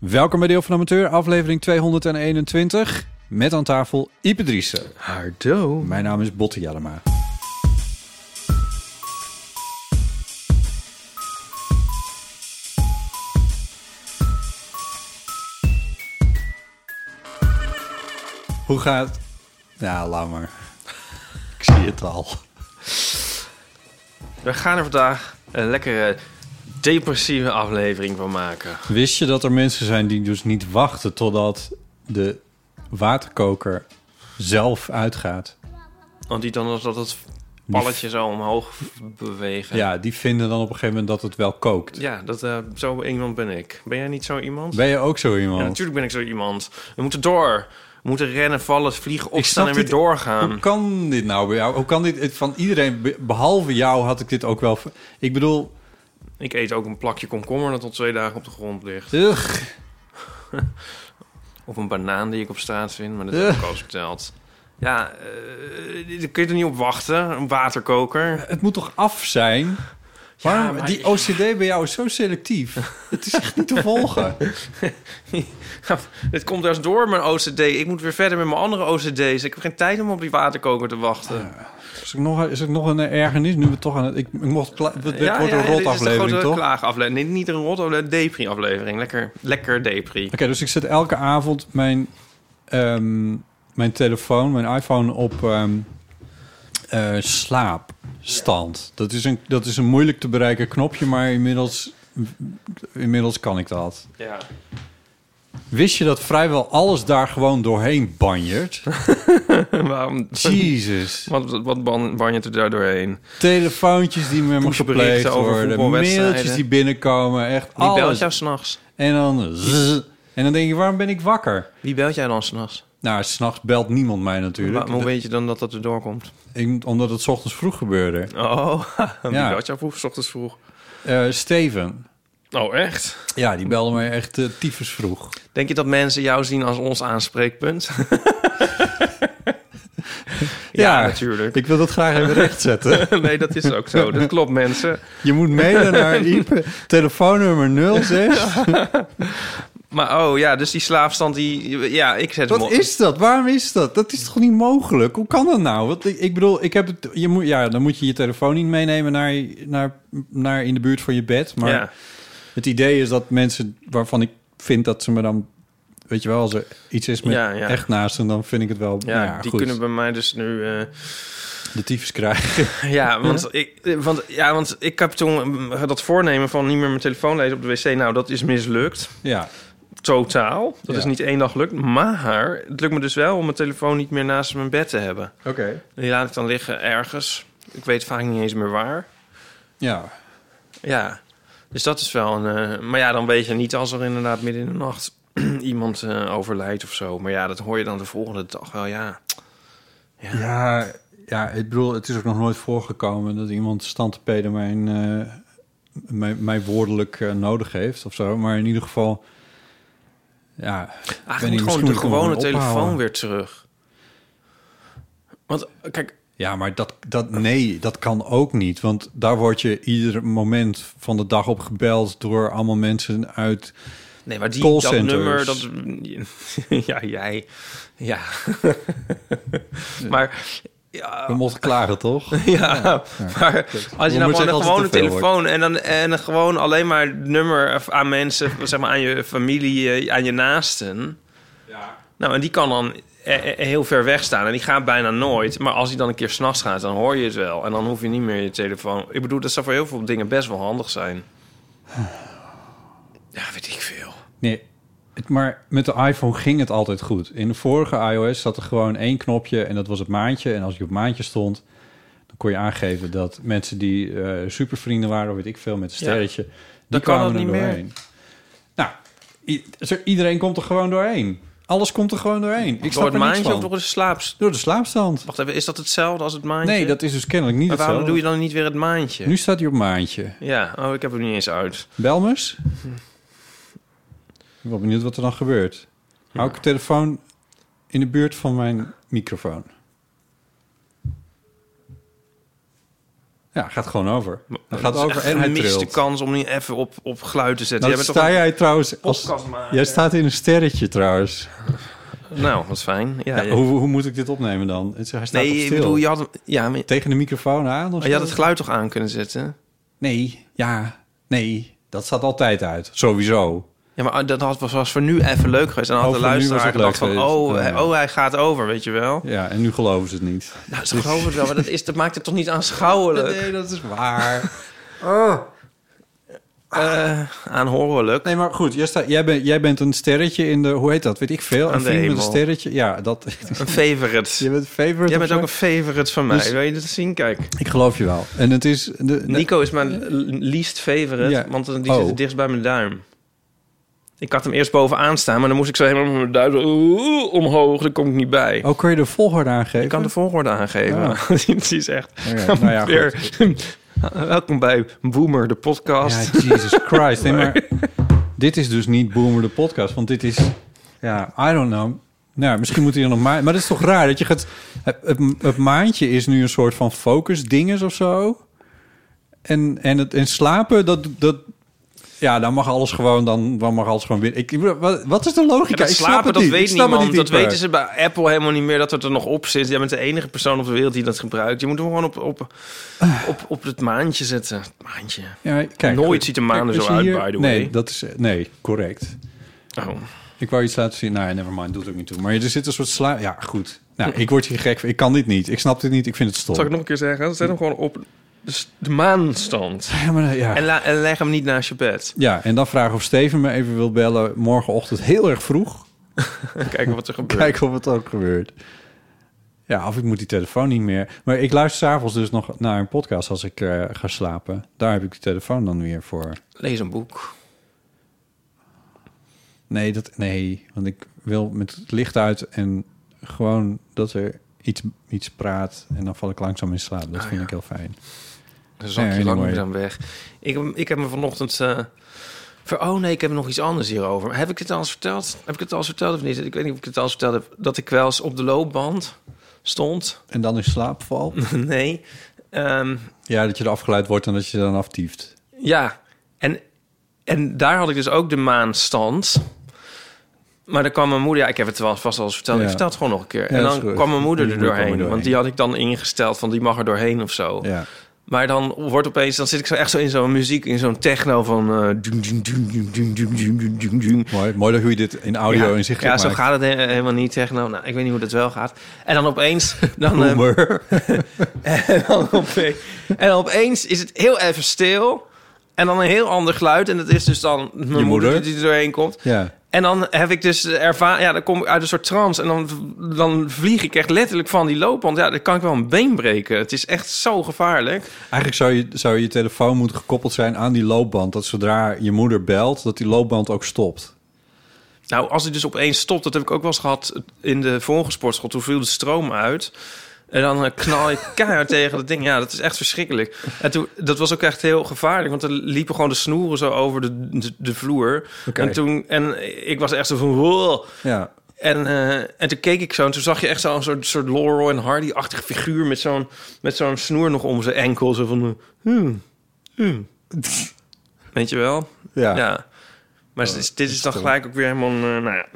Welkom bij Deel van Amateur, aflevering 221. Met aan tafel Ipe Driessen. Hardo. Mijn naam is Botte Jellema. Hoe gaat... Ja, laat maar. Ik zie het al. We gaan er vandaag een lekkere depressieve aflevering van maken. Wist je dat er mensen zijn die dus niet wachten totdat de waterkoker zelf uitgaat? Want die dan als dat het balletje zo omhoog bewegen. Ja, die vinden dan op een gegeven moment dat het wel kookt. Ja, dat, eh, zo iemand ben ik. Ben jij niet zo iemand? Ben je ook zo Ja, iemand? natuurlijk ben ik zo iemand. We moeten door. We moeten rennen, vallen, vliegen, opstaan snap en weer dit- Hoe doorgaan. kan dit nou bij jou? Hoe kan dit het- van iedereen, be- behalve jou, had ik dit ook wel... ver- Ik bedoel, Ik eet ook een plakje komkommer dat al twee dagen op de grond ligt. ugh, Of een banaan die ik op straat vind, maar dat heb Eh. ik al eens verteld. Ja, eh, daar kun je er niet op wachten. Een waterkoker. het moet toch af zijn? Waarom, maar- die OCD bij jou is zo selectief. het is echt niet te volgen. Het komt dus door mijn OCD. Ik moet weer verder met mijn andere OCD's. Ik heb geen tijd om op die waterkoker te wachten. Is er nog, is er nog een ergernis? Nu we toch aan het... Ik, ik mocht, pla- het Ja, wordt ja, een dit rot is de aflevering, grote toch? klaagaflevering. Nee, niet een rot, een depri-aflevering. Lekker, lekker depri. Oké, dus ik zet elke avond mijn, ehm, mijn telefoon, mijn iPhone op ehm, eh, slaapstand. Dat, is een, dat is een moeilijk te bereiken knopje, maar inmiddels, inmiddels kan ik dat. Ja. Wist je dat vrijwel alles daar gewoon doorheen banjert? Waarom? Jezus. Wat, wat ban, ban je er daar doorheen? Telefoontjes die met me Pushberichten gepleegd over worden. voetbalwedstrijden. Mailtjes die binnenkomen. Echt Wie belt alles. jou s'nachts? En dan... zzz. en dan denk je, waarom ben ik wakker? Wie belt jij dan s'nachts? Nou, s'nachts belt niemand mij natuurlijk. Hoe weet je dan dat dat er doorkomt? Ik- omdat het 's ochtends vroeg gebeurde. Oh, wie Ja. belt jou vroeg, 's ochtends vroeg? Eh, Steven. Oh, echt? Ja, die belde mij echt eh, tyfus vroeg. Denk je dat mensen jou zien als ons aanspreekpunt? ja, Ja. natuurlijk. Ik wil dat graag even rechtzetten. Nee, dat is ook zo. Dat klopt, mensen. Je moet mailen naar Ipe, telefoonnummer 06. Maar oh ja, dus die slaafstand, die... Ja, ik zet hem Wat op. is dat? Waarom is dat? Dat is toch niet mogelijk? Hoe kan dat nou? Want ik, ik bedoel, ik heb het, je moet, ja, dan moet je je telefoon niet meenemen naar, naar, naar in de buurt van je bed. Maar Ja. het idee is dat mensen waarvan ik vind dat ze me dan... Weet je wel, als er iets is met Ja, ja. echt naast en dan vind ik het wel... nou Ja, Ja, die goed, kunnen bij mij dus nu... eh, de tyfus krijgen. ja, want ik, eh, want, ja, want ik heb toen eh, dat voornemen van niet meer mijn telefoon lezen op de wc. Nou, dat is mislukt. ja. Totaal. Dat Ja. is niet één dag lukt. Maar het lukt me dus wel om mijn telefoon niet meer naast mijn bed te hebben. Oké. Die laat ik dan liggen ergens. Ik weet vaak niet eens meer waar. Ja, Ja, dus dat is wel een... eh, maar ja, dan weet je niet als er inderdaad midden in de nacht iemand eh, overlijdt of zo. Maar ja, dat hoor je dan de volgende dag wel, ja. Ja, ja, ik bedoel, het is ook nog nooit voorgekomen dat iemand stand te peden mijn, eh, mijn, mijn woordelijk eh, nodig heeft of zo. Maar in ieder geval, ja. ik weet niet, Eigenlijk Ah, moet misschien gewoon moet de ik hem gewoon gewone telefoon ophouden. weer terug. Want kijk, Ja, maar dat, dat, nee, dat kan ook niet. Want daar word je ieder moment van de dag op gebeld door allemaal mensen uit... nee, maar die dat Callcenters. nummer, dat ja jij, ja. maar We mochten klagen, toch? Ja, maar als je nou moeten zeggen gewoon een als gewone het te veel wordt. telefoon en dan en gewoon alleen maar het nummer af- aan mensen, zeg maar aan je familie, eh, aan je naasten. Nou, en die kan dan eh, eh, heel ver weg staan en die gaat bijna nooit. Maar als hij dan een keer s'nachts gaat, dan hoor je het wel. En dan hoef je niet meer je telefoon. Ik bedoel, dat zou voor heel veel dingen best wel handig zijn. Ja, weet ik veel. Nee, het, maar met de iPhone ging het altijd goed. In de vorige iOS zat er gewoon één knopje en dat was het maandje. En als je op maandje stond, dan kon je aangeven dat mensen die eh, supervrienden waren, of weet ik veel, met een Ja. sterretje, die Dan kan kwamen dat er niet meer. doorheen. Nou, i- zo- iedereen komt er gewoon doorheen. Alles komt er gewoon doorheen. Ik door snap het er niks maandje of van. door de slaaps. Door de slaapstand. Wacht even, is dat hetzelfde als het maandje? Nee, dat is dus kennelijk niet Maar waarom hetzelfde. doe je dan niet weer het maandje? Nu staat hij op maandje. Ja, oh, ik heb hem niet eens uit. Belmers? Ik ben wel benieuwd wat er dan gebeurt. Hou ik de telefoon in de buurt van mijn microfoon. Ja, gaat gewoon over. Dan gaat het over en hij mist de trilt. kans om niet even op, op geluid te zetten. Nou, Jij bent sta toch jij trouwens... een Als, podcastmaker? jij staat in een sterretje trouwens. Nou, wat fijn. Ja, Ja, ja. Hoe, hoe moet ik dit opnemen dan? Het- Hij staat op nee, ik stil. bedoel, je had, hem- ja, maar, Tegen de microfoon aan of je had zo? het geluid toch aan kunnen zetten? Nee, ja, nee. Dat staat altijd uit. Sowieso. Ja, maar ah, dat had, was, was voor nu even leuk geweest. En dan had Oh, de voor nu was luisteraar het leuk gedacht van... geweest. Oh, hij, Ja. oh, hij gaat over, weet je wel. Ja, en nu geloven ze het niet. Nou, ze geloven het wel, maar dat, is, dat maakt het toch niet aanschouwelijk? Nee, dat is waar. Eh, aanhorelijk. Nee, maar goed, jij, staat- jij, bent, jij bent een sterretje in de... Hoe heet dat? Weet ik veel. Aan een de vriend met een hemel. sterretje. Ja, dat... Een favorite. je bent favorite. Jij of bent zo. ook een favorite van mij. Dus- Wil je dat zien? Kijk. Ik geloof je wel. En het is... De, Nico is mijn least favorite, Ja. want die Oh. zit het dichtst bij mijn duim. Ik had hem eerst bovenaan staan, maar dan moest ik zo helemaal met mijn duim zo, oeh, omhoog. Daar kom ik niet bij. Oh, kun je de volgorde aangeven? Ik kan de volgorde aangeven. Ja. Het is echt... Oké, nou ja, weer- Welkom bij Boomer, de podcast. Ja, Jesus Christ. Nee, maar dit is dus niet Boomer de podcast, want dit is... Ja, I don't know. Nou, misschien moet hij er nog maar... Maar dat is toch raar dat je gaat... Het, het, het maandje is nu een soort van focus dinges of zo. En, en, het, en slapen, dat... dat ja, dan mag alles gewoon, dan, dan mag alles gewoon weer. Ik, wat, wat is de En logica? dat Ik snap slapen, het dat niet. Ik weet snap het niemand. niet Dat weten dieper. ze bij Apple helemaal niet meer, dat het er nog op zit. Jij bent de enige persoon op de wereld die dat gebruikt. Je moet hem gewoon op, op, op, op het maandje zetten. Het maandje. Ja, kijk, Nooit goed. ziet de maan er Kijk, zo we uit, zien by the Nee, way. dat is, nee, correct. Oh. Ik wou iets laten zien. Nou ja, never mind. Doet ook niet toe. Maar er zit een soort sla... Ja, goed. Nou, ik word hier gek van. Ik kan dit niet. Ik snap dit niet. Ik vind het stom. Zal ik nog een keer zeggen? Zet hem gewoon op de, de maanstand. Ja, maar, eh, ja. En, la- en leg hem niet naast je bed. ja, en dan vragen of Steven me even wil bellen morgenochtend heel erg vroeg. Kijken wat er gebeurt. Kijken of het ook gebeurt. Ja, of ik moet die telefoon niet meer. Maar ik luister s'avonds dus nog naar een podcast als ik eh, ga slapen. Daar heb ik de telefoon dan weer voor. Lees een boek. Nee, dat, nee, want ik wil met het licht uit en gewoon dat er iets, iets praat. En dan val ik langzaam in slaap. Dat Ah, vind ja. ik heel fijn. Dan zak je Ja, anyway. langzaam weg. Ik, heb- ik heb me vanochtend... eh, ver, oh nee, ik heb nog iets anders hierover. Heb ik het al eens verteld? Heb ik het al eens verteld of niet? Ik weet niet of ik het al eens verteld heb. Dat ik wel eens op de loopband stond. En dan in slaap val. nee. Ehm, Ja, dat je er afgeleid wordt en dat je dan aftieft. ja. En, en daar had ik dus ook de maanstand. Maar dan kwam mijn moeder... Ja, ik heb het wel vast al eens verteld. Ja. Ik vertel het gewoon nog een keer. Ja, en dat is dan goed. kwam mijn moeder Die er moeder kwam doorheen, er Want doorheen. die had ik dan ingesteld van die mag er doorheen of zo. Ja. Maar dan wordt opeens, dan zit ik zo echt zo in zo'n muziek, in zo'n techno van. eh, doem, doem, doem, doem, doem, doem, doem, doem, doem, doem. Mooi, mooi dat hoe je dit in audio ja, inzichtelijk ja, zo maakt. gaat het he- helemaal niet, techno. Nou, ik weet niet hoe dat wel gaat. En dan opeens, dan, eh, Boomer. en, dan opeens, en dan opeens is het heel even stil. En dan een heel ander geluid. En dat is dus dan mijn moeder. moeder. die er doorheen komt. Ja. En dan heb ik dus ervaren, ja, dan kom ik uit een soort trance. En dan, dan vlieg ik echt letterlijk van die loopband. Ja, dan kan ik wel een been breken. Het is echt zo gevaarlijk. Eigenlijk zou je, zou je telefoon moeten gekoppeld zijn aan die loopband. Dat zodra je moeder belt, dat die loopband ook stopt. Nou, als hij dus opeens stopt, dat heb ik ook wel eens gehad in de vorige sportschool. Toen viel de stroom uit. En dan eh, knal ik keihard tegen dat ding. Ja, dat is echt verschrikkelijk. En toen, dat was ook echt heel gevaarlijk. Want er liepen gewoon de snoeren zo over de, de, de vloer. Oké. En toen, en ik was echt zo van... "Wow." Ja. En, eh, en toen keek ik zo en toen zag je echt zo'n soort, soort Laurel en Hardy-achtige figuur... met zo'n met zo'n snoer nog om zijn enkel. Zo van... eh, hmm, hmm. Weet je wel? Ja. Ja. Maar dit is- dit is dan gelijk ook weer helemaal... eh, nou ja.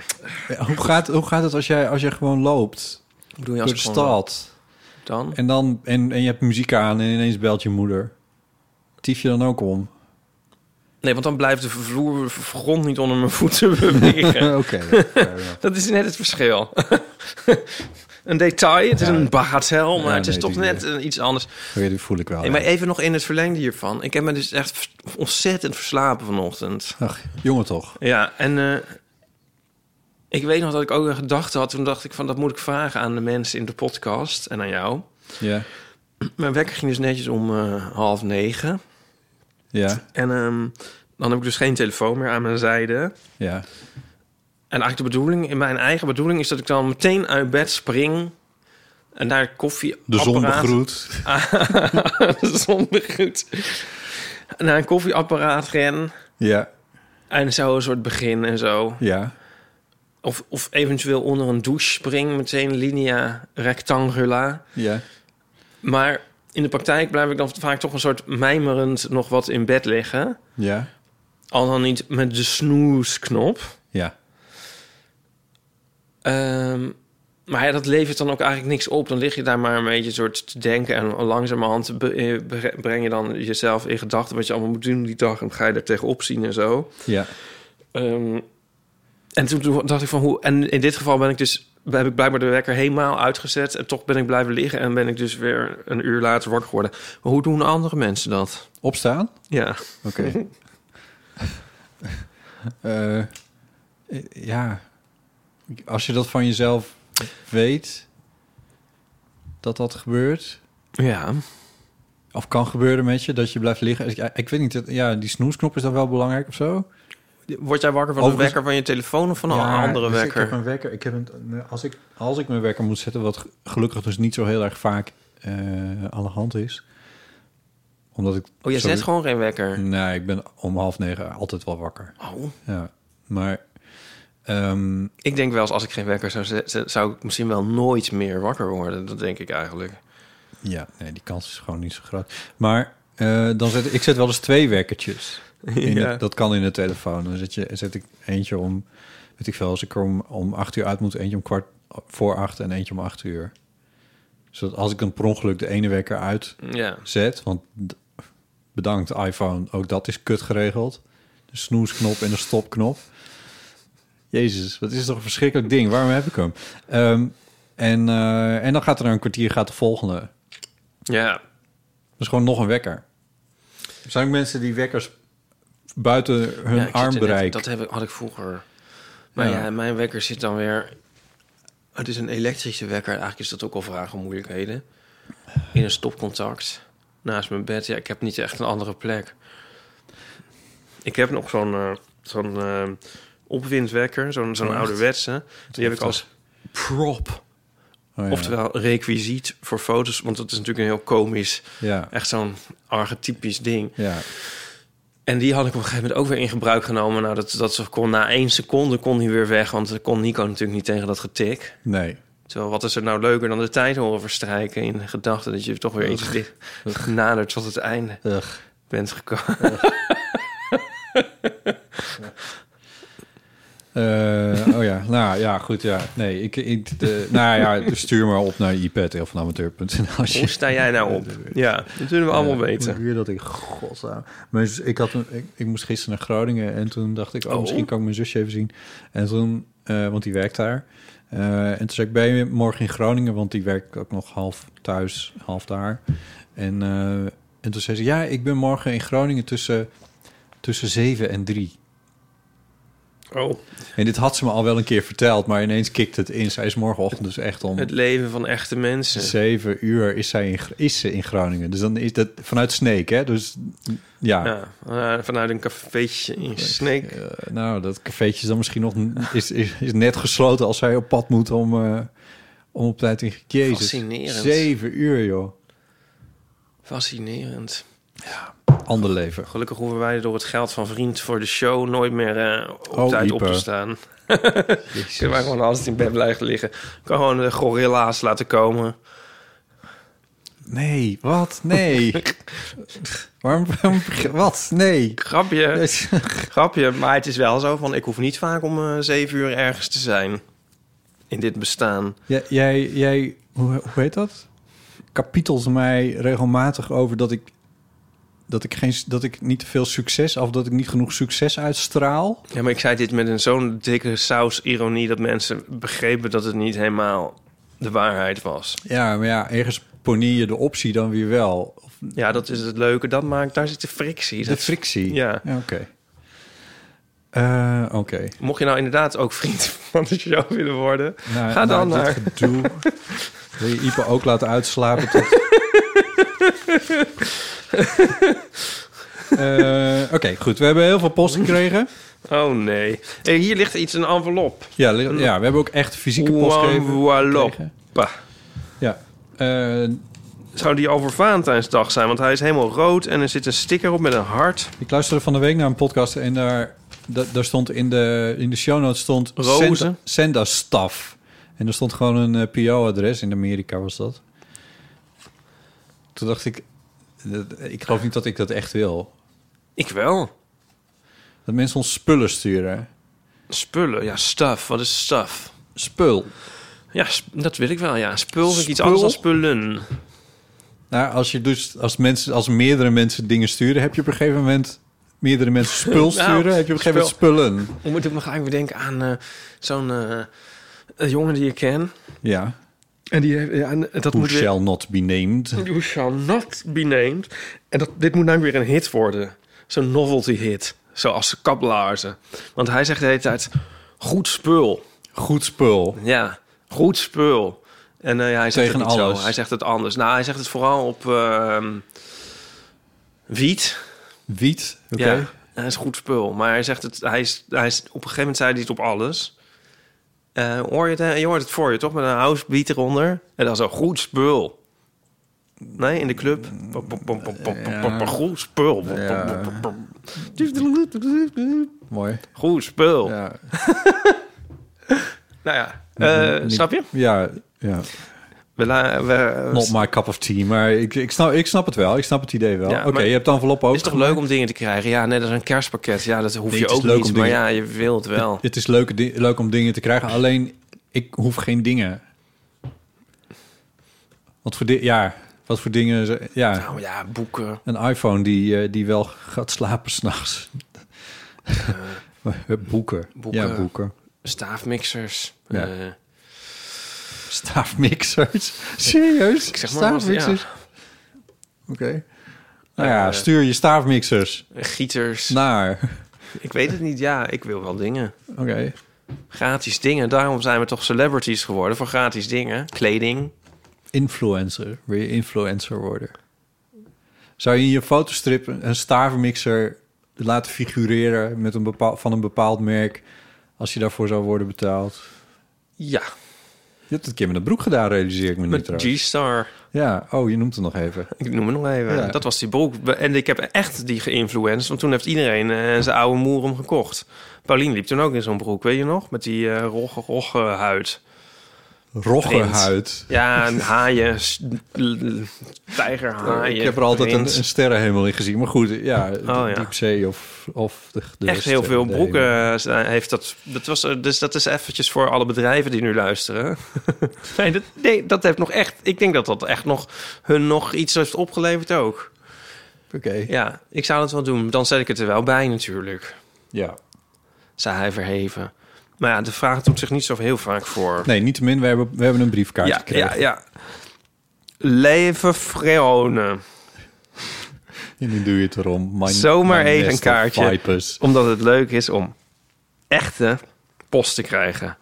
Ja, Hoe, gaat, hoe gaat het als jij, als jij gewoon loopt Hoe bedoel je door als de ik gewoon- stad? dan? En, dan, en, en je hebt muziek aan en ineens belt je moeder. Tief je dan ook om? Nee, want dan blijft de vloer, de grond niet onder mijn voeten bewegen. Oké, ja, fair enough. Dat is net het verschil. een detail, het is Ja. een bagatel, maar Ja, het is nee, toch die- oh, net eh, iets anders. Oké, die voel ik wel. Hey, maar ja. even nog in het verlengde hiervan. Ik heb me dus echt vers- ontzettend verslapen vanochtend. Ach, jongen toch. Ja, en eh, ik weet nog dat ik ook een gedachte had. Toen dacht ik van, dat moet ik vragen aan de mensen in de podcast en aan jou. Ja, Mijn wekker ging dus netjes om eh, half negen. ja, En ehm, dan heb ik dus geen telefoon meer aan mijn zijde. ja. En eigenlijk de bedoeling, in mijn eigen bedoeling, is dat ik dan meteen uit bed spring en naar het koffieapparaat. De zon begroet. de zon begroet. Naar een koffieapparaat ren Ja, en zo een soort begin en zo. ja. Of, of eventueel onder een douche spring, meteen linea rectangula. Ja, Maar in de praktijk blijf ik dan vaak toch een soort mijmerend nog wat in bed liggen. ja, Al dan niet met de snoesknop. ja. Ehm, maar ja, dat levert dan ook eigenlijk niks op. Dan lig je daar maar een beetje soort te denken. En langzamerhand be- eh, bre- breng je dan jezelf in gedachten wat je allemaal moet doen die dag. En ga je daar tegenop zien en zo. Ja, Ehm, en toen, toen dacht ik van hoe. En in dit geval ben ik dus. Heb ik blijkbaar de wekker helemaal uitgezet. En toch ben ik blijven liggen. En ben ik dus weer een uur later wakker geworden. Maar hoe doen andere mensen dat? opstaan? Ja. Oké. Eh, eh, ja, als je dat van jezelf weet, dat dat gebeurt, Ja. of kan gebeuren met je, dat je blijft liggen. Ik, ik weet niet, dat- ja, die snoesknop is dan wel belangrijk of zo? Word jij wakker van de Overigens- wekker van je telefoon of van een Ja, andere dus wekker? Ik heb een wekker. Ik heb een, als, ik, als ik mijn wekker moet zetten, wat ge- gelukkig dus niet zo heel erg vaak eh, aan de hand is. Omdat ik. Oh, jij sorry. zet gewoon geen wekker. Nee, ik ben om half negen altijd wel wakker. Oh. Ja, maar. ehm, Ik denk wel eens als ik geen wekker zou zetten, zou ik misschien wel nooit meer wakker worden. Dat denk ik eigenlijk. ja, nee, die kans is gewoon niet zo groot. Maar eh, dan zet ik zet wel eens twee wekkertjes. In Ja. de- dat kan in de telefoon. Dan zet, je, zet ik eentje om. Weet ik veel, als ik er om, om acht uur uit moet, eentje om kwart voor acht en eentje om acht uur. Zodat als ik dan per ongeluk de ene wekker uit Ja. zet. Want d- bedankt iPhone, ook dat is kut geregeld. De snoesknop en de stopknop. Jezus, wat is toch een verschrikkelijk ding. Waarom heb ik hem? Ehm, en, eh, en dan gaat er een kwartier gaat de volgende. Dat Ja. is gewoon nog een wekker. Er zijn ook mensen die wekkers buiten hun Ja, ik zit er net- armbereik... Dat heb ik, had ik vroeger. Maar Ja. ja. mijn wekker zit dan weer... Het is een elektrische wekker. Eigenlijk is dat ook al vragen om moeilijkheden. In een stopcontact. Naast mijn bed. Ja, ik heb niet echt een andere plek. Ik heb nog zo'n eh, zo'n eh, opwindwekker. Zo'n zo'n ouderwetse. Die heb ik als prop. Oh ja. Oftewel requisiet voor foto's. Want dat is natuurlijk een heel komisch... Ja, Echt zo'n archetypisch ding. ja, En die had ik op een gegeven moment ook weer in gebruik genomen. Nou, dat, dat ze kon, na één seconde kon hij weer weg. Want dan kon Nico natuurlijk niet tegen dat getik. nee. Terwijl, wat is er nou leuker dan de tijd horen verstrijken... in de gedachte dat je toch weer iets dicht genaderd tot het einde Ugh. bent gekomen. Eh, oh ja, nou ja, goed, ja. Nee, ik, ik, de, nou ja, stuur maar op naar ipad.elvanamateur.nl als Hoe je sta jij nou op? Ja, dat zullen we allemaal weten. Weer dat ik, godsnaam. Maar dus ik, had een, ik, ik moest gisteren naar Groningen en toen dacht ik, oh, Oh. misschien kan ik mijn zusje even zien. En toen, eh, want die werkt daar. Eh, en toen zei ik, ben je morgen in Groningen? Want die werkt ook nog half thuis, half daar. En, eh, en toen zei ze, ja, ik ben morgen in Groningen tussen, tussen 7 en 3. Oh, En dit had ze me al wel een keer verteld, maar ineens kikt het in. Zij is morgenochtend dus echt om het leven van echte mensen. zeven uur is, zij in, Gr- is ze in Groningen. Dus dan is dat vanuit Sneek, hè? Dus ja. Ja, eh, vanuit een cafeetje in Sneek. Eh, nou, dat cafeetje is dan misschien nog n- is, is, is net gesloten als zij op pad moet om, eh, om op tijd in Jezus. Fascinerend. Zeven uur, joh. Fascinerend. Ander leven. Gelukkig hoeven wij door het geld van vriend voor de show nooit meer eh, op Oh, tijd op Ieper. te staan. Kunnen wij gewoon altijd in bed blijven liggen. Kan gewoon de gorilla's laten komen. Nee, wat? Nee. waarom, waarom? Wat? Nee. Grapje, Dus- grapje. Maar het is wel zo van, ik hoef niet vaak om eh, zeven uur ergens te zijn. In dit bestaan. J- jij, jij, hoe, hoe heet dat? kapitelt mij regelmatig over dat ik, dat ik, geen, dat ik niet te veel succes... of dat ik niet genoeg succes uitstraal. Ja, maar ik zei dit met een zo'n dikke saus ironie... dat mensen begrepen dat het niet helemaal de waarheid was. Ja, maar ja, ergens poneer je de optie dan weer wel. Of Ja, dat is het leuke. Dat maakt, daar zit de frictie. de Dat- frictie. Ja. oké. Eh, oké. Mocht je nou inderdaad ook vriend van de show willen worden... Nou, Ga dan nou, naar- Dit gedoe. Wil je Ipe ook laten uitslapen tot... Eh, Oké, goed. We hebben heel veel post gekregen. Oh nee. Hé, hier ligt iets, een envelop. Ja, li- ja, we hebben ook echt fysieke post gekregen. Envelop. Ja. Eh, Zou die over Valentijnsdag zijn? Want hij is helemaal rood en er zit een sticker op met een hart. ik luisterde van de week naar een podcast en daar, da- daar stond in de, in de show notes stond Rozen. Senda- Senda Staff. En er stond gewoon een PO-adres. In Amerika was dat. Toen dacht ik, dat- ik geloof niet dat ik dat echt wil. Ik wel. Dat mensen ons spullen sturen. Spullen. Ja, stuff. Wat is stuff? Spul. Ja, sp- dat wil ik wel. Ja, spul vind ik iets Spul? anders dan spullen. Nou, als, je dus, als, mensen, als meerdere mensen dingen sturen, heb je op een gegeven moment meerdere mensen Nou, spul sturen, heb je op een gegeven moment spullen. Hoe moet ik me gelijk weer denken aan eh, zo'n eh, een jongen die ik ken. Ja. En die heeft... Ja, en dat Who moet weer- shall not be named. You shall not be named. En dat, dit moet nou weer een hit worden. Zo'n novelty hit. Zoals de kaplaarzen. Want hij zegt de hele tijd... Goed spul. Goed spul. Ja, goed spul. En eh, ja, hij zegt Tegen het niet alles. zo. Hij zegt het anders. Nou, hij zegt het vooral op ehm, wiet. Wiet. Oké. Ja, hij is goed spul. Maar hij zegt het... Hij is, hij is, op een gegeven moment zei hij het op alles. Eh, hoor je, het, hè? je hoort het voor je, toch? Met een house beat eronder. En dan zo, goed spul. Nee, in de club. Pop, pop, pop, pop, pop, Ja. pop, pop, Goed spul. Ja. Mooi. Goed spul. Ja. Nou ja, eh, Niet- snap je? Ja, ja. We, la- we, Not my cup of tea, maar ik, ik, snap, ik snap het wel. Ik snap het idee wel. Ja, Oké, maar- je hebt de envelop ook. Het is toch leuk om dingen te krijgen? Ja, net als een kerstpakket. Ja, dat hoef Nee, je het is ook leuk niet. om Maar dingen- ja, je wilt wel. Het is leuke di- leuk om dingen te krijgen, alleen ik hoef geen dingen. Wat voor, di- ja, wat voor dingen... ze- Ja. Nou ja, boeken. Een iPhone die, eh, die wel gaat slapen s'nachts. Eh, boeken. Eh. boeken. Ja, boeken. Staafmixers. Ja. eh, Staafmixers. Serieus? ik zeg maar wat, staafmixers? ja. Oké. Nou ja, Eh, stuur je staafmixers Gieters. Nou- naar... Ik weet het niet. Ja, ik wil wel dingen. Oké. Gratis dingen. Daarom zijn we toch celebrities geworden. Voor gratis dingen. Kleding. Influencer. Wil je influencer worden? Zou je in je fotostrip een, een staafmixer laten figureren met een bepaal, van een bepaald merk... als je daarvoor zou worden betaald? Ja, Je hebt het een keer met een broek gedaan, realiseer ik me nu met trouwens. G-Star. Ja, oh, je noemt het nog even. Ik noem het nog even. Ja. Dat was die broek. En ik heb echt die geïnfluenced. Want toen heeft iedereen eh, zijn oude moer om gekocht. Paulien liep toen ook in zo'n broek, weet je nog? Met die eh rogge, rogge huid. Roggehuid. Ja, en haaien, s- l- tijgerhaaien. Ik heb er altijd een, prins. een sterrenhemel in gezien. Maar goed, ja, de Oh, ja. diepzee of, of de, de Echt heel veel sterrenhemel. broeken eh, zijn- heeft dat. dat was, eh, dus dat is eventjes voor alle bedrijven die nu luisteren. nee, dat, nee, dat heeft nog echt... Ik denk dat dat echt nog hun nog iets heeft opgeleverd ook. Oké, ja. Ja, ik zou het wel doen. Dan zet ik het er wel bij natuurlijk, zei hij verheven. Maar ja, de vraag doet zich niet zo heel vaak voor. Nee, niet te min, we hebben, we hebben een briefkaart ja, gekregen. ja, ja. Leven Freone. En nu doe je het erom. My, Zomaar my even nest een of kaartje. vipers. Omdat het leuk is om echte post te krijgen.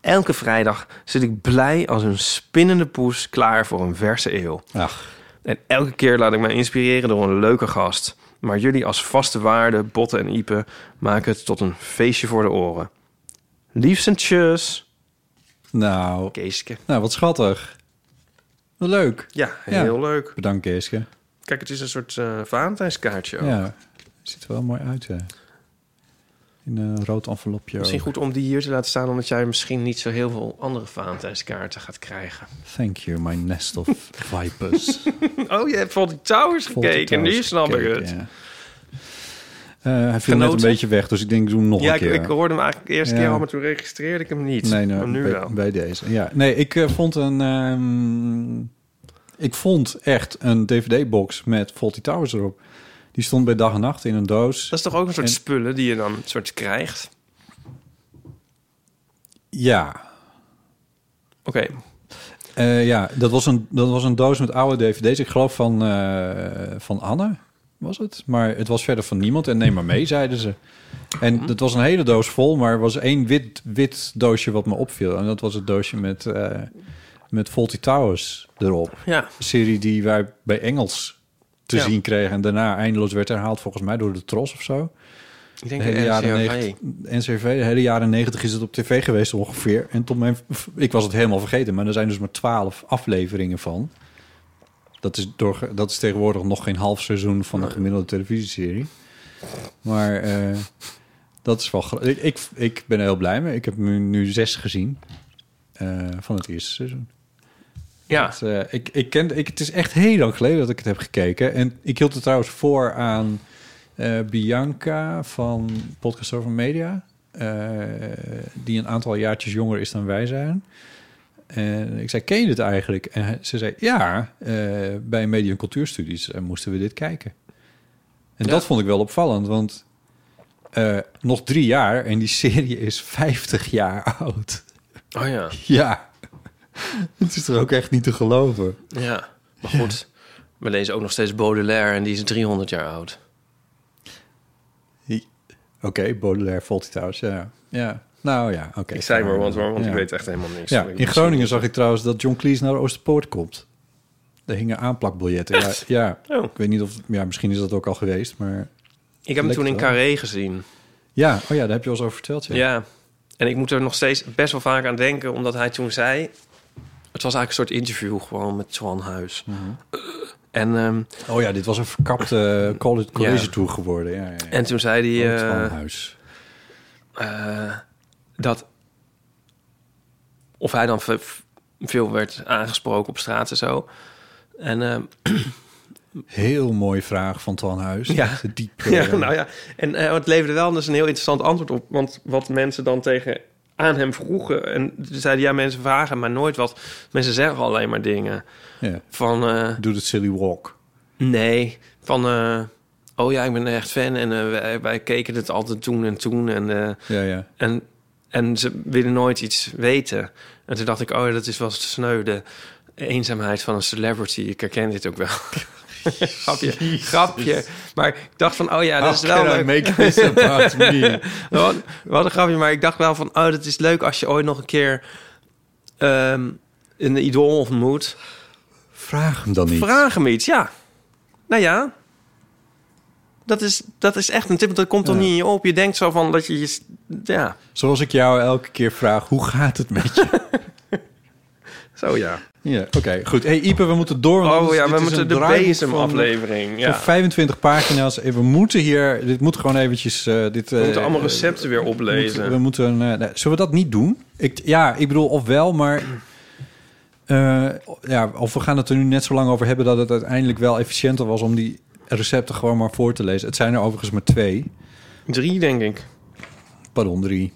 Elke vrijdag zit ik blij als een spinnende poes klaar voor een verse eeuw. Ach, En elke keer laat ik mij inspireren door een leuke gast. Maar jullie als vaste waarden, Botten en Ipe, maken het tot een feestje voor de oren. Liefst en tjus. nou, Keeske. nou, wat schattig. Wat leuk. Ja, Ja. heel leuk. Bedankt, Keeske. Kijk, het is een soort eh Valentijnskaartje ook. Ja, ziet er wel mooi uit, hè. In een rood envelopje. Misschien ook. goed om die hier te laten staan... omdat jij misschien niet zo heel veel andere Valentijnskaarten gaat krijgen. Thank you, my nest of vipers. Oh, je hebt van die towers gekeken. Nu snap ik het. Ja. Eh, hij viel net Genoten? een beetje weg, dus ik denk, ik doe hem nog Ja, een ik, keer. ik hoorde hem eigenlijk de eerste Ja. keer al, maar toen registreerde ik hem niet. nee, maar nou, nu bij, wel. bij deze. Ja, nee, ik eh, vond een ehm, Ik vond echt een DVD-box met Faulty Towers erop. Die stond bij dag en nacht in een doos. Dat is toch ook een soort En- spullen die je dan een soort krijgt? Ja, Oké. Eh, ja dat, was een, dat was een doos met oude dvd's. Ik geloof van, eh, van Anne was het. Maar het was verder van niemand. En neem maar mee, zeiden ze. En dat was een hele doos vol, maar er was één wit, wit doosje wat me opviel. En dat was het doosje met, eh met Faulty Towers erop. Ja. Een serie die wij bij Engels te Ja. zien kregen. En daarna eindeloos werd herhaald, volgens mij, door de Tros of zo. Ik denk De hele jaren 90, NCRV, de hele jaren 90 is het op tv geweest ongeveer. En tot mijn, ik was het helemaal vergeten, maar er zijn dus maar twaalf afleveringen van. Dat is, door, dat is tegenwoordig nog geen half seizoen van een gemiddelde televisieserie. Maar eh, dat is wel gro- ik, ik, ik ben er heel blij mee. Ik heb nu, nu zes gezien eh, van het eerste seizoen. Ja. Het, eh, ik, ik ken, ik, het is echt heel lang geleden dat ik het heb gekeken. En ik hield het trouwens voor aan eh, Bianca van Podcast Over Media. eh, die een aantal jaartjes jonger is dan wij zijn. En ik zei, ken je dit eigenlijk? En hij- ze zei, ja, eh, bij Media en Cultuurstudies eh, moesten we dit kijken. En dat vond ik wel opvallend, want eh, nog drie jaar en die serie is 50 jaar oud. Oh ja. Ja, het is er ook echt niet te geloven. Ja. Maar goed, we lezen ook nog steeds Baudelaire en die is 300 jaar oud. Oké, Baudelaire, Faulty Towers, ja. ja. Nou ja, oké. Ik zei maar, want, want eh, Ja. ik weet echt helemaal niks. Ja, Ik in Groningen zag ik trouwens dat John Cleese naar Oosterpoort komt. Daar hingen aanplakbiljetten. Ja, ja. Oh. ik weet niet of... Ja, misschien is dat ook al geweest, maar... Ik heb hem toen in Lekker, Carré gezien. Ja, oh ja, daar heb je al eens over verteld, ja. Ja. En ik moet er nog steeds best wel vaak aan denken, omdat hij toen zei... Het was eigenlijk een soort interview gewoon met Twan Huis. En, ehm, Oh ja, dit was een verkapte college, college Ja. tour geworden. Ja, ja, ja. en toen zei hij... Oh, het eh, Twanhuis. eh, dat of hij dan ve- veel werd aangesproken op straat en zo. En ehm, Heel mooie vraag van Twan Huis. Ja. Echt Diep, eh, ja, nou ja, en eh, het leverde wel dus een heel interessant antwoord op, want wat mensen dan tegen aan hem vroegen en ze zeiden ja mensen vragen maar nooit wat. Mensen zeggen alleen maar dingen ja. van eh, Doe het silly walk. nee, van eh, oh ja ik ben echt fan en eh, wij, wij keken het altijd toen en toen en eh, Ja, ja. En, en ze willen nooit iets weten. En toen dacht ik, oh, ja, dat is wel sneu, de eenzaamheid van een celebrity. Ik herken dit ook wel. grapje, grapje. Maar ik dacht van, oh ja, dat is wel leuk. make this about me? Wat, wat een grapje, maar ik dacht wel van... oh, dat is leuk als je ooit nog een keer ehm, een idool ontmoet. Vraag hem dan niet. Vraag hem iets, ja. Nou ja, dat is, dat is echt een tip. want Dat komt toch Ja. niet in je op. Je denkt zo van dat je... je ja, Zoals ik jou elke keer vraag, hoe gaat het met je? zo ja. Ja, oké, goed. hey, Ipe, we moeten door. want Oh dit is- ja, dit we is moeten een de draaiboek van- bezemaflevering. Ja. Van 25 pagina's. En we moeten hier... Dit moet gewoon eventjes... eh, dit, We moeten eh, allemaal recepten weer Moeten- we oplezen. moeten een, eh, nee, zullen we dat niet doen? Ik, ja, ik bedoel, of wel, maar... eh, ja, of we gaan het er nu net zo lang over hebben... dat het uiteindelijk wel efficiënter was om die recepten gewoon maar voor te lezen. Het zijn er overigens maar twee. Drie, denk ik. Pardon, drie.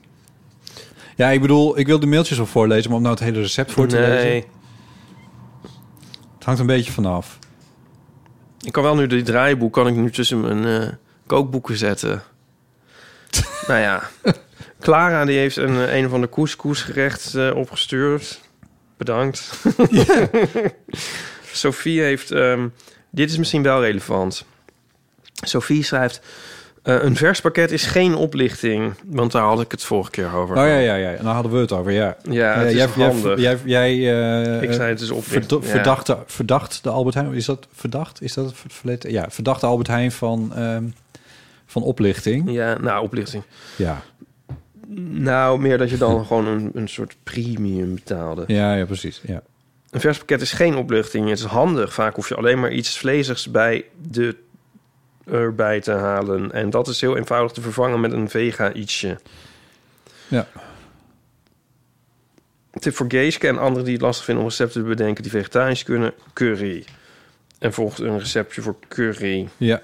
Ja, ik bedoel, ik wil de mailtjes al voorlezen... maar om nou het hele recept voor te lezen... Nee, Het hangt een beetje vanaf. ik kan wel nu die draaiboek kan ik nu tussen mijn eh, kookboeken zetten. nou ja, Clara die heeft een, eh, een van de couscousgerecht eh opgestuurd. Bedankt. Sophie heeft... ehm, dit is misschien wel relevant. Sophie schrijft... eh, een vers pakket is geen oplichting. Want daar had ik het vorige keer over. Oh ja, ja, ja. En daar hadden we het over, ja. Ja, het Eh, is jij, jij- handig. Jij, jij, eh, ik zei het dus op. verdo- ja. verdachte, verdacht de Albert Heijn. Is dat verdacht? Is dat het ver- verleden? Ja, verdachte Albert Heijn van, ehm, van oplichting. Ja, nou, oplichting. Ja. Nou, meer dat je dan gewoon een, een soort premium betaalde. Ja, ja, precies. Ja. Een vers pakket is geen oplichting. Het is handig. Vaak hoef je alleen maar iets vleesigs bij de erbij te halen. En dat is heel eenvoudig te vervangen met een vega ietsje. Ja. Tip voor Geeske en anderen die het lastig vinden om recepten te bedenken die vegetarisch kunnen. Curry. En volgt een receptje voor curry. ja.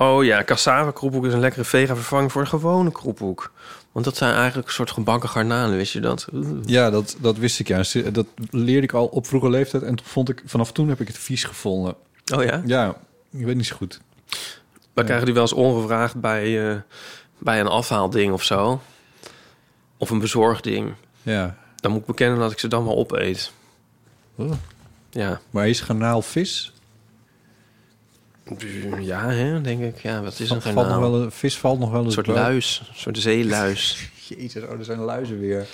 Oh ja, cassava kroephoek is een lekkere vega vervanging voor een gewone kroephoek. Want dat zijn eigenlijk een soort gebakken garnalen, wist je dat? Oeh. Ja, dat, dat wist ik juist. Dat leerde ik al op vroege leeftijd. En toen vond ik, vanaf toen heb ik het vies gevonden. Oh ja? Ja, ik weet niet zo goed. We krijgen die wel eens ongevraagd bij, eh, bij een afhaalding of zo. Of een bezorgding. Ja. Dan moet ik bekennen dat ik ze dan wel opeet. Oh. Ja. Maar is garnaal vis? Ja, hè, denk ik. Ja, wat is een Valt nog garnaal? wel een, vis valt nog wel Een eens soort buiten. luis, een soort zeeluis. Jezus, oh, er zijn luizen weer.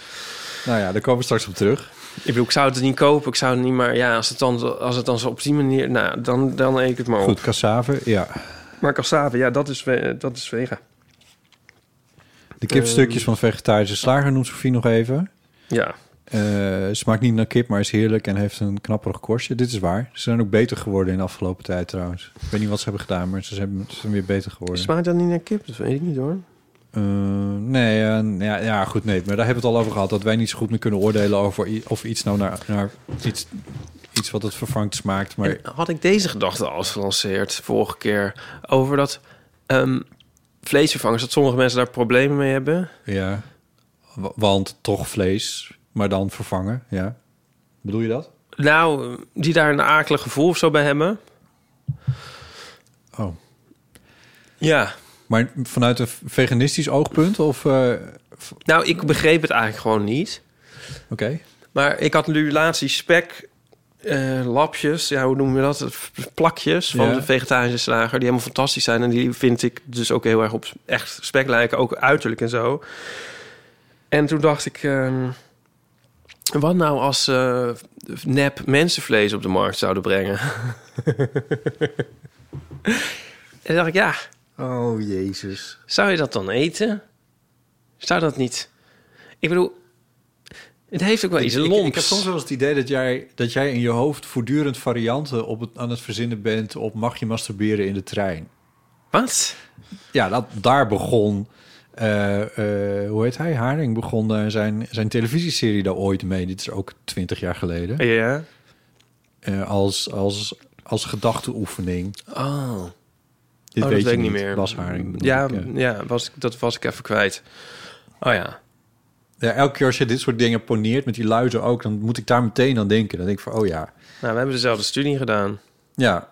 Nou ja, daar komen we straks op terug. ik bedoel, ik zou het niet kopen. Ik zou het niet, maar ja, als het dan, als het dan zo op die manier... Nou, dan, dan eet ik het maar op. Goed, cassave, ja. Maar cassave, ja, dat is, ve- dat is vega. De kipstukjes van de vegetarische slager noemt Sofie nog even. Ja. Eh, smaakt niet naar kip, maar is heerlijk en heeft een knapperig korstje. Dit is waar. Ze zijn ook beter geworden in de afgelopen tijd trouwens. Ik weet niet wat ze hebben gedaan, maar ze zijn, ze zijn weer beter geworden. Smaakt dat niet naar kip? Dat weet ik niet hoor. Eh, nee, eh, ja, ja, goed, nee. Maar daar hebben we het al over gehad. Dat wij niet zo goed meer kunnen oordelen over i- of iets nou naar, naar iets, iets wat het vervangt smaakt. Maar En had ik deze gedachte al eens gelanceerd vorige keer over dat ehm, vleesvervangers, dat sommige mensen daar problemen mee hebben. ja, wa- want toch vlees, maar dan vervangen. Ja, bedoel je dat? Nou, die daar een akelig gevoel of zo bij hebben. Oh, Ja. maar vanuit een veganistisch oogpunt of eh, v- oké? Nou, ik begreep het eigenlijk gewoon niet. Maar ik had nu laatst die spek, eh, lapjes, ja, hoe noemen we dat? Plakjes van Ja. de vegetarische slager, die helemaal fantastisch zijn. En die vind ik dus ook heel erg op echt spek lijken, ook uiterlijk en zo. En toen dacht ik, ehm, wat nou als eh nep mensenvlees op de markt zouden brengen? en dacht ik, ja. Oh, jezus. Zou je dat dan eten? Zou dat niet... Ik bedoel, het heeft ook wel iets Ik- ik- lomps. Ik, heb soms wel eens het idee dat jij, dat jij in je hoofd voortdurend varianten op het, aan het verzinnen bent op mag je masturberen in de trein. Wat? Ja, dat, daar begon, eh, eh, hoe heet hij, Haring, begon eh, zijn, zijn televisieserie daar ooit mee. Dit is ook twintig jaar geleden. Ja. Eh, als, als, als gedachteoefening. Oh, Dit weet, dat weet je ik niet meer. Bas Haring. ja, bedoel ik, eh. ja was, ik- dat was ik even kwijt. Oh ja. Ja, elke keer als je dit soort dingen poneert, met die luizen ook, dan moet ik daar meteen aan denken. Dan denk ik van, oh ja, Nou, we hebben dezelfde studie gedaan. ja,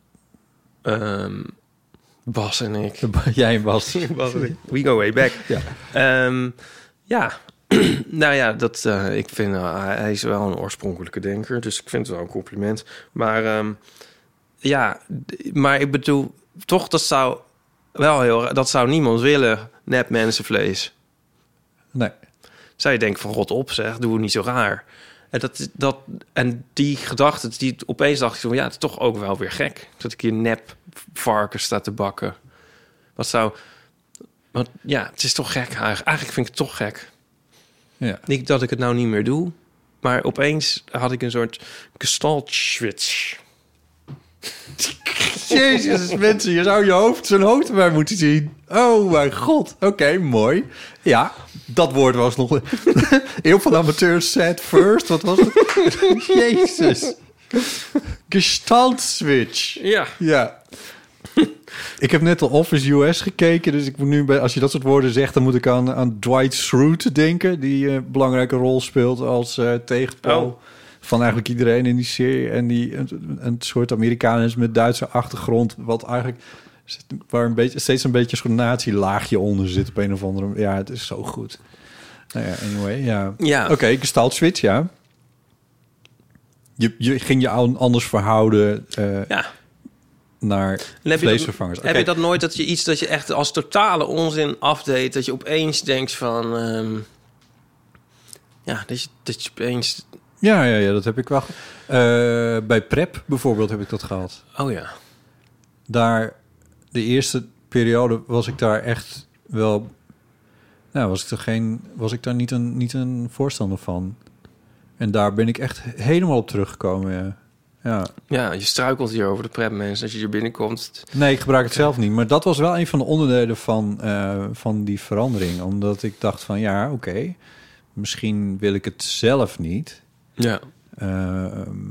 Ehm, Bas en ik. jij en Bas. Bas en ik. We go way back. Ja. Ehm, ja. nou ja, dat, eh, ik vind, eh, hij- hij is wel een oorspronkelijke denker. Dus ik vind het wel een compliment. Maar ehm, ja, d- maar ik bedoel, toch dat zou wel heel... ra- Dat zou niemand willen, nep mensenvlees. Nee. zou je denken van rot op zeg, doe het niet zo raar. En, dat, is- dat, en die gedachte, die, opeens dacht ik zo, ja, het is toch ook wel weer gek. Dat ik hier nep varken sta te bakken. Wat zou... Want ja, het is toch gek eigenlijk. Eigenlijk vind ik het toch gek. Ja. Niet dat ik het nou niet meer doe. Maar opeens had ik een soort gestaltschwitsch. Jezus, mensen, je zou je hoofd, zijn hoofd erbij moeten zien. Oh mijn god. Oké, mooi. Ja, dat woord was nog... Heel veel amateurs said first. Wat was het? Jezus. Gestalt switch. Ja. Ja. Ik heb net al Office US gekeken, dus ik moet nu bij, als je dat soort woorden zegt, dan moet ik aan, aan Dwight Schrute denken, die eh, een belangrijke rol speelt als eh tegenpool Oh. van eigenlijk iedereen in die serie. En die een, een soort Amerikaan is met Duitse achtergrond, wat eigenlijk waar een beetje, steeds een beetje zo'n nazi-laagje onder zit op een of andere. Ja, het is zo goed. Nou ja, anyway, ja. Ja. Oké, gestalt switch, ja. Je, je ging je an- anders verhouden. eh, Ja. naar En heb je dat- vleesvervangers. Heb Oké. je dat nooit dat je iets dat je echt als totale onzin afdeed, dat je opeens denkt van, ehm, ja, dat je, dat je opeens, Ja, ja, ja, dat heb ik wel. ge- Eh, bij prep bijvoorbeeld heb ik dat gehad. oh ja, Daar, de eerste periode was ik daar echt wel... Nou, was ik, er geen, was ik daar niet een, niet een voorstander van. En daar ben ik echt helemaal op teruggekomen, ja. ja. ja, je struikelt hier over de prep mensen als je hier binnenkomt. Nee, ik gebruik het zelf niet. Maar dat was wel een van de onderdelen van, eh, van die verandering. Omdat ik dacht van, ja, oké. misschien wil ik het zelf niet. Ja, Ehm,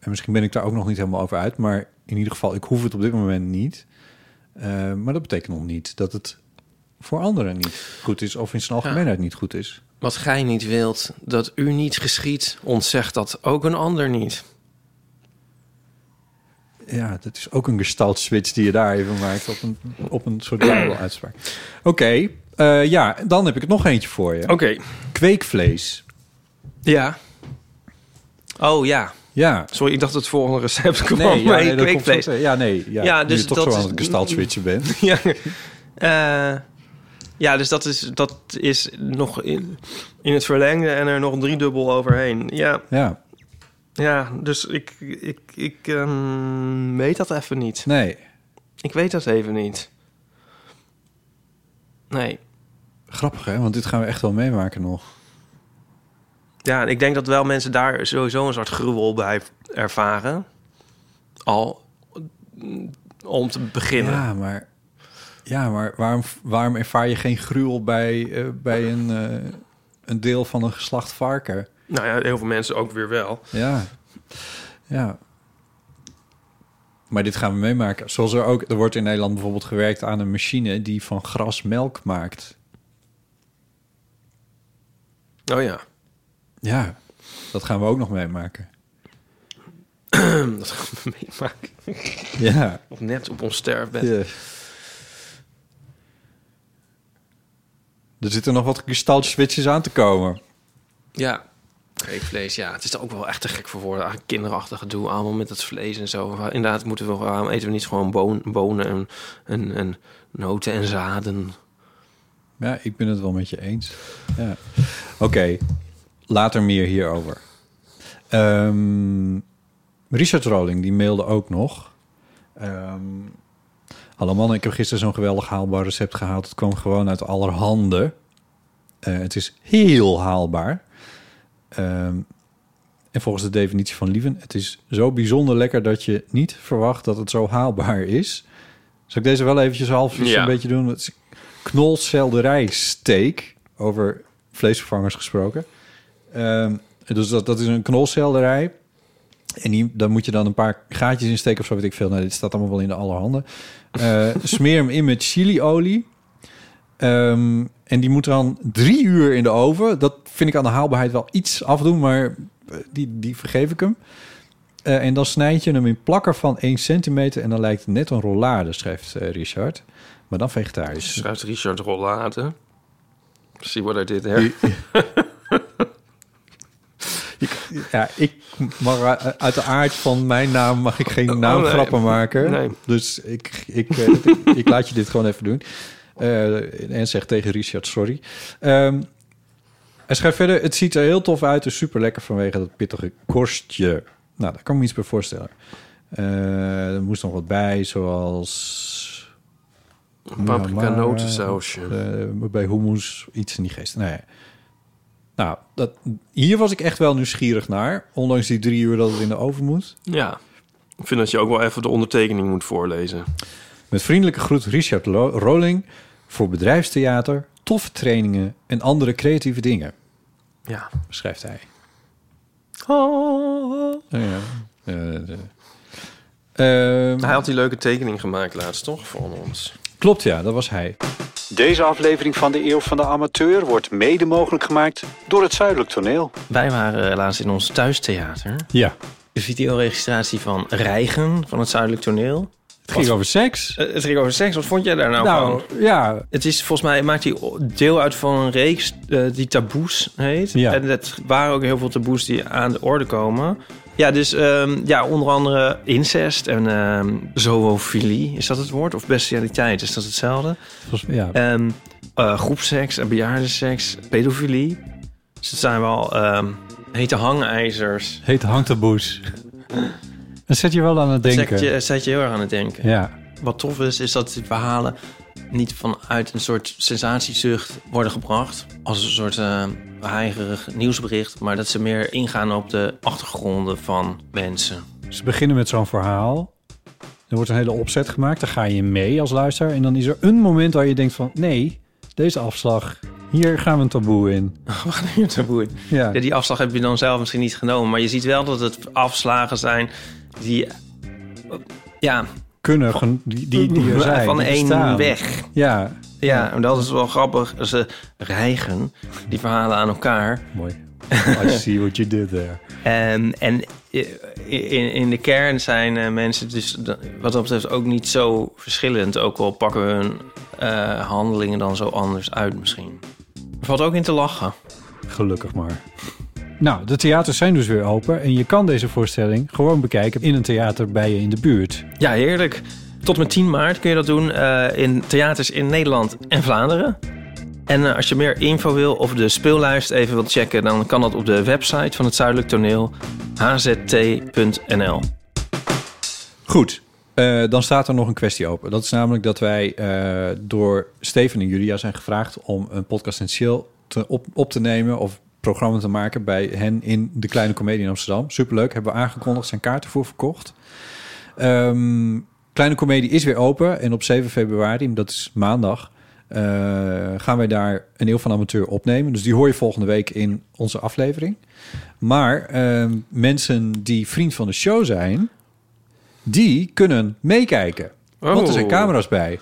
en misschien ben ik daar ook nog niet helemaal over uit, maar in ieder geval, ik hoef het op dit moment niet. Eh, maar dat betekent nog niet dat het voor anderen niet goed is of in zijn algemeenheid niet goed is. Wat gij niet wilt, dat u niet geschiet, ontzegt dat ook een ander niet. Ja, dat is ook een gestalt switch die je daar even maakt op een, op een soort uitspraak. Oké, eh, ja, dan heb ik het nog eentje voor je. Oké. Kweekvlees. Ja. Oh ja. Ja. Sorry, ik dacht het volgende recept kwam. Nee, ja, maar nee, dat komt kweekvlees. zo- ja, nee, ja, Ja, nu dus je toch dat zo is- aan het gestalt switchen bent. ja. Eh, ja, dus dat is, dat is nog in, in het verlengde en er nog driedubbel overheen. Ja, Ja, ja dus ik, ik, ik ehm, weet dat even niet. nee. Ik weet dat even niet. Nee. Grappig, hè? Want dit gaan we echt wel meemaken nog. Ja, en ik denk dat wel mensen daar sowieso een soort gruwel bij ervaren. Al mm, om te beginnen. Ja, maar, ja, maar waarom, waarom ervaar je geen gruwel bij, eh, bij een, eh, een deel van een geslacht varken? Nou ja, heel veel mensen ook weer wel. Ja. ja. Maar dit gaan we meemaken. Zoals er ook, er wordt in Nederland bijvoorbeeld gewerkt aan een machine die van gras melk maakt. Oh ja. Ja, dat gaan we ook nog meemaken. Dat gaan we meemaken. Ja. Of net op ons sterfbed. Ja. Er zitten nog wat gestalt switches aan te komen. Ja. Kweekvlees, ja. Het is ook wel echt te gek voor woorden. Eigenlijk kinderachtig gedoe, allemaal met dat vlees en zo. Maar Inderdaad, moeten we, waarom eten we niet gewoon boon- bonen en, en, en noten en zaden? Ja, ik ben het wel met je eens. Ja. Oké, later meer hierover. Ehm, Richard Rowling, die mailde ook nog. Ehm, Hallo mannen, ik heb gisteren zo'n geweldig haalbaar recept gehaald. Het kwam gewoon uit allerhande. Eh, het is heel haalbaar. Ehm, en volgens de definitie van Lieven... het is zo bijzonder lekker dat je niet verwacht dat het zo haalbaar is. Zal ik deze wel eventjes halfjes Ja. een beetje doen? Het is knolselderijsteak, over vleesvervangers gesproken. Ehm, dus dat, dat is een knolselderij. En die, daar moet je dan een paar gaatjes in steken of zo, weet ik veel. Nou, dit staat allemaal wel in de allerhande. Eh, smeer hem in met chiliolie. Ehm, en die moet dan drie uur in de oven. Dat vind ik aan de haalbaarheid wel iets afdoen, maar eh, die, die vergeef ik hem. Eh, en dan snijd je hem in plakken van 1 centimeter en dan lijkt het net een rollade, schrijft eh, Richard. Maar dan vegetarisch. Schrijft Richard Rollade. Zie wat er dit her. Ja, ik mag eh, uit de aard van mijn naam mag ik geen naamgrappen maken. Nee. Dus ik, ik, eh, ik laat je dit gewoon even doen. Eh, en zeg tegen Richard, sorry. Ehm hij schrijft verder, het ziet er heel tof uit. Dus super lekker vanwege dat pittige korstje. Nou, daar kan ik me iets bij voorstellen. Eh, er moest nog wat bij, zoals... Paprika Muhammara, notensausje. eh, bij hummus, iets in die geest. Nou, ja. nou dat, hier was ik echt wel nieuwsgierig naar. Ondanks die drie uur dat het in de oven moet. Ja. Ik vind dat je ook wel even de ondertekening moet voorlezen. Met vriendelijke groet Richard Lo- Rolling voor bedrijfstheater, toffe trainingen en andere creatieve dingen, Ja. schrijft hij. Oh. Nou ja. eh, de- Ehm, Hij had die leuke tekening gemaakt laatst, toch? Voor ons. klopt, ja, dat was hij. Deze aflevering van de Eeuw van de Amateur wordt mede mogelijk gemaakt door het Zuidelijk Toneel. Wij waren eh, laatst in ons thuistheater. Ja. De videoregistratie van Reigen van het Zuidelijk Toneel. Het ging over seks. Eh, Het ging over seks. Wat vond jij daar nou, nou, van? ja. Het is volgens mij maakt hij deel uit van een reeks eh, die taboes heet. Ja. En dat waren ook heel veel taboes die aan de orde komen. Ja, dus ehm, ja, onder andere incest en ehm zoofilie. Is dat het woord? Of bestialiteit? Is dat hetzelfde? volgens- ja. Ehm eh, groepseks en bejaardenseks, pedofilie. Dus het zijn wel ehm, hete hangijzers. Heet hangt de boes. Dat zet je wel aan het denken. Zet je, zet je heel erg aan het denken. Ja. Wat tof is, is dat die verhalen niet vanuit een soort sensatiezucht worden gebracht. Als een soort eh heigerig nieuwsbericht. Maar dat ze meer ingaan op de achtergronden van mensen. Ze beginnen met zo'n verhaal. Er wordt een hele opzet gemaakt. Daar ga je mee als luisteraar. En dan is er een moment waar je denkt van... nee, deze afslag, hier gaan we een taboe in. Wat een taboe. Ja, Ja, die afslag heb je dan zelf misschien niet genomen. Maar je ziet wel dat het afslagen zijn die... eh, Ja, kunnen, gen- die, die, die er zijn. van die één bestaan. weg. Ja, Ja, en dat is wel grappig. Ze rijgen die verhalen aan elkaar. mooi. I see what you did there. En, Ehm, en i- in, in de kern zijn eh, mensen dus da- wat dat betreft ook niet zo verschillend. Ook al pakken we hun eh, handelingen dan zo anders uit misschien. Er valt ook in te lachen. Gelukkig maar. Nou, de theaters zijn dus weer open en je kan deze voorstelling gewoon bekijken in een theater bij je in de buurt. Ja, heerlijk. Tot en met 10 maart kun je dat doen eh, in theaters in Nederland en Vlaanderen. En eh, als je meer info wil of de speellijst even wilt checken... dan kan dat op de website van het Zuidelijk Toneel hzt.nl. Goed. Eh, dan staat er nog een kwestie open. Dat is namelijk dat wij eh, door Steven en Julia zijn gevraagd om een podcast en chill te, op, op te nemen of programma te maken bij hen in de Kleine Comedie in Amsterdam. Superleuk, hebben we aangekondigd, zijn kaarten voor verkocht. Ehm, Kleine Comedie is weer open en op 7 februari, dat is maandag, eh, gaan wij daar een eeuw van amateur opnemen. Dus die hoor je volgende week in onze aflevering. Maar ehm, mensen die vriend van de show zijn, die kunnen meekijken. Want er zijn camera's bij.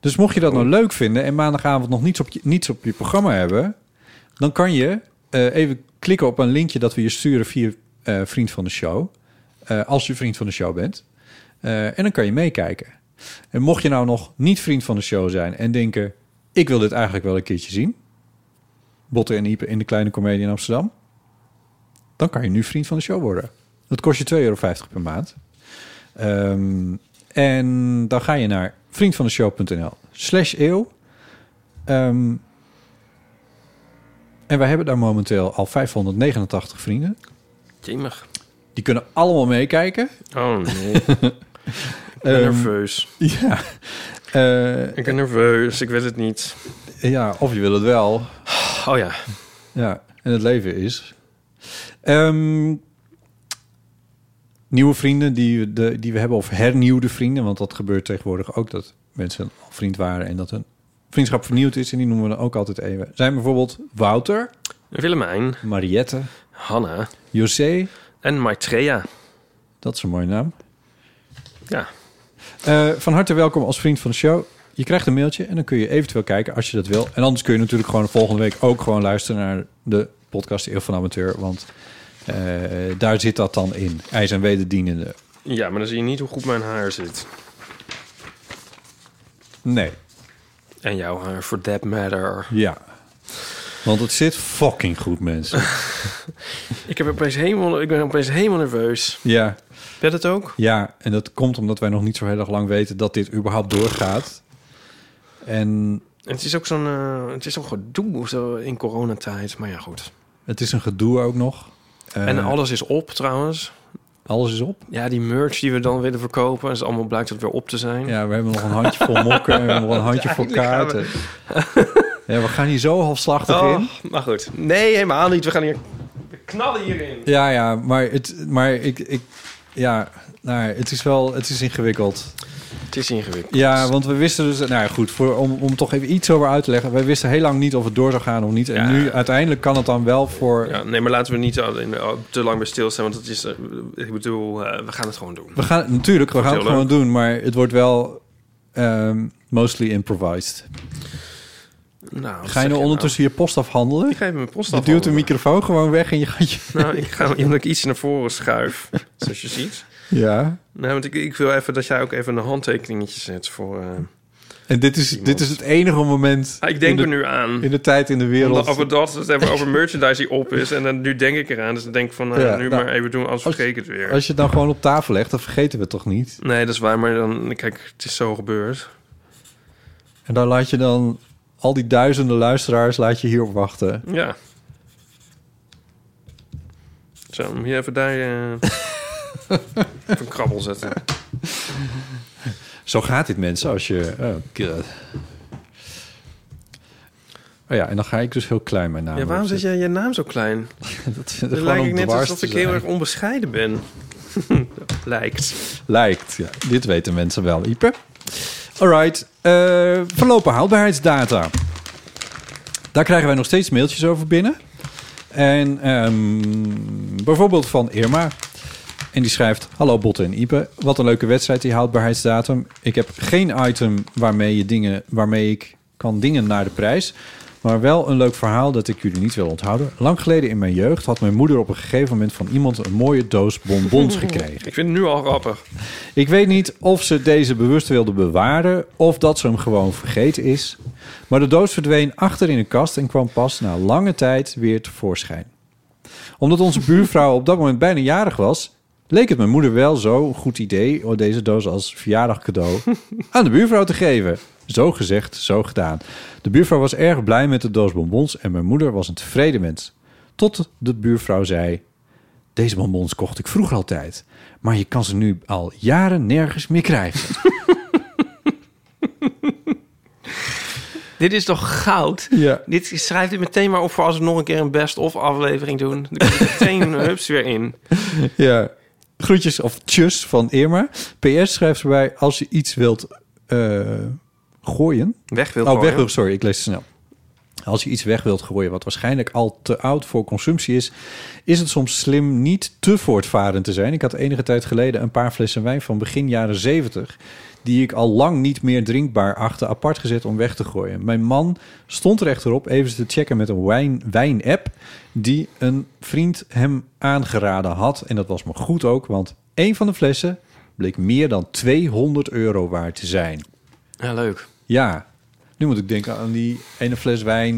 Dus mocht je dat nou leuk vinden en maandagavond nog niets op je, niets op je programma hebben, dan kan je eh, even klikken op een linkje dat we je sturen via eh, vriend van de show. Eh, als je vriend van de show bent. Eh, en dan kan je meekijken. En mocht je nou nog niet vriend van de show zijn en denken: ik wil dit eigenlijk wel een keertje zien. Botten en Iepen in de kleine comedie in Amsterdam. Dan kan je nu vriend van de show worden. Dat kost je 2,50 euro per maand. Ehm, en dan ga je naar vriendvandeshow.nl slash eeuw. Ehm, en wij hebben daar momenteel al 589 vrienden. Jemig. Die kunnen allemaal meekijken. Oh nee, ik ben Ehm, nerveus. ja. Eh, Ik ben nerveus, ik weet het niet. ja, of je wil het wel. Oh ja. Ja, en het leven is. Ehm, nieuwe vrienden die, we- de, die we hebben, of hernieuwde vrienden, want dat gebeurt tegenwoordig ook dat mensen al vriend waren en dat hun vriendschap vernieuwd is. En die noemen we dan ook altijd even. Zijn bijvoorbeeld Wouter, Willemijn, Mariette, Hanna José, en Maitreya. dat is een mooie naam. Ja. Eh, van harte welkom als vriend van de show. Je krijgt een mailtje en dan kun je eventueel kijken als je dat wil. En anders kun je natuurlijk gewoon volgende week ook gewoon luisteren naar de podcast Eeuw van Amateur. Want eh, daar zit dat dan in. IJs en wederdienende. ja, maar dan zie je niet hoe goed mijn haar zit. Nee, En jouw haar, for that matter. ja. Want het zit fucking goed, mensen. Ik, heb opeens helemaal, ik ben opeens helemaal nerveus. Ja, Ben het ook? ja, en dat komt omdat wij nog niet zo heel erg lang weten dat dit überhaupt doorgaat. En En het is ook zo'n eh, het is zo'n gedoe zo in coronatijd. Maar ja, goed. het is een gedoe ook nog. Eh, en alles is op trouwens. alles is op. Ja, die merch die we dan willen verkopen. Is allemaal blijkt het weer op te zijn. Ja, we hebben nog een handje vol mokken en we hebben nog een handje vol kaarten. Ja, we gaan hier zo halfslachtig in. Oh, maar goed. Nee, helemaal niet. We gaan hier... We knallen hierin. Ja, ja, maar het, maar ik, ik, ja, nou, het is wel, het is ingewikkeld. Het is ingewikkeld. Ja, want we wisten dus, nou ja, goed, voor, om, om toch even iets over uit te leggen. Wij wisten heel lang niet of het door zou gaan of niet. En Ja. nu uiteindelijk kan het dan wel voor. Ja, nee, maar laten we niet alleen, eh, te lang bij stilstaan, want dat is, eh, ik bedoel, eh, we gaan het gewoon doen. We gaan het natuurlijk, we gaan het heel gewoon doen, maar het wordt wel ehm, mostly improvised. Nou, wat Ga je zeg nou ondertussen je post afhandelen? Ik geef hem mijn post Je af. duwt de microfoon gewoon weg en je gaat je. Nou, ik ga omdat ik iets naar voren schuif, zoals je ziet. Ja. Nou, want ik, ik wil even dat jij ook even een handtekeningetje zet voor... eh, En dit is, dit is het enige moment. Ah, ik denk in er de, nu aan. In de tijd in de wereld. Omdat over dat, het hebben over merchandise die op is. En dan, nu denk ik eraan. Dus dan denk ik van, nou, Ja, nu nou, maar even doen, anders als- vergeet ik het weer. Als je het dan gewoon op tafel legt, dan vergeten we het toch niet. Nee, dat is waar. Maar dan, kijk, het is zo gebeurd. En dan laat je dan al die duizenden luisteraars laat je hierop wachten. Ja. Zo, moet je even daar eh, even een krabbel zetten. Zo gaat dit mensen als je. Oh, God. Oh ja, en dan ga ik dus heel klein mijn naam. Ja, waarom zet jij je naam zo klein? je dat? dat Dan gewoon lijkt om ik net dwars alsof te ik heel zijn. erg onbescheiden ben. lijkt. Lijkt. Ja, dit weten mensen wel, Ipe. Alright. eh verlopen houdbaarheidsdata. Daar krijgen wij nog steeds mailtjes over binnen. En ehm, bijvoorbeeld van Irma. En die schrijft: Hallo Botten en Ipe. Wat een leuke wedstrijd die houdbaarheidsdatum. Ik heb geen item waarmee, je dingen, waarmee ik kan dingen naar de prijs. Maar wel een leuk verhaal dat ik jullie niet wil onthouden. Lang geleden in mijn jeugd had mijn moeder op een gegeven moment van iemand een mooie doos bonbons gekregen. Ik vind het nu al grappig. Ik weet niet of ze deze bewust wilde bewaren of dat ze hem gewoon vergeten is. Maar de doos verdween achter in een kast en kwam pas na lange tijd weer tevoorschijn. Omdat onze buurvrouw op dat moment bijna jarig was, leek het mijn moeder wel zo'n goed idee om deze doos als verjaardagcadeau aan de buurvrouw te geven. Zo gezegd, zo gedaan. De buurvrouw was erg blij met de doos bonbons en mijn moeder was een tevreden mens. Tot de buurvrouw zei: Deze bonbons kocht ik vroeger altijd, maar je kan ze nu al jaren nergens meer krijgen. Dit is toch goud? Ja. Dit, schrijf dit meteen maar op voor als we nog een keer een best-of aflevering doen. Dan kan ik meteen eh, hups weer in. ja. Groetjes of tjus van Irma. PS schrijft erbij: Als je iets wilt eh, gooien, Weg wil Oh, gooien. weg wil- sorry, ik lees te snel. Als je iets weg wilt gooien wat waarschijnlijk al te oud voor consumptie is, is het soms slim niet te voortvarend te zijn. Ik had enige tijd geleden een paar flessen wijn van begin jaren 70, die ik al lang niet meer drinkbaar achtte, apart gezet om weg te gooien. Mijn man stond er echter op even te checken met een wijn- wijn-app die een vriend hem aangeraden had. En dat was me goed ook, want één van de flessen bleek meer dan 200 euro waard te zijn. Ja, leuk. Ja, nu moet ik denken aan die ene fles wijn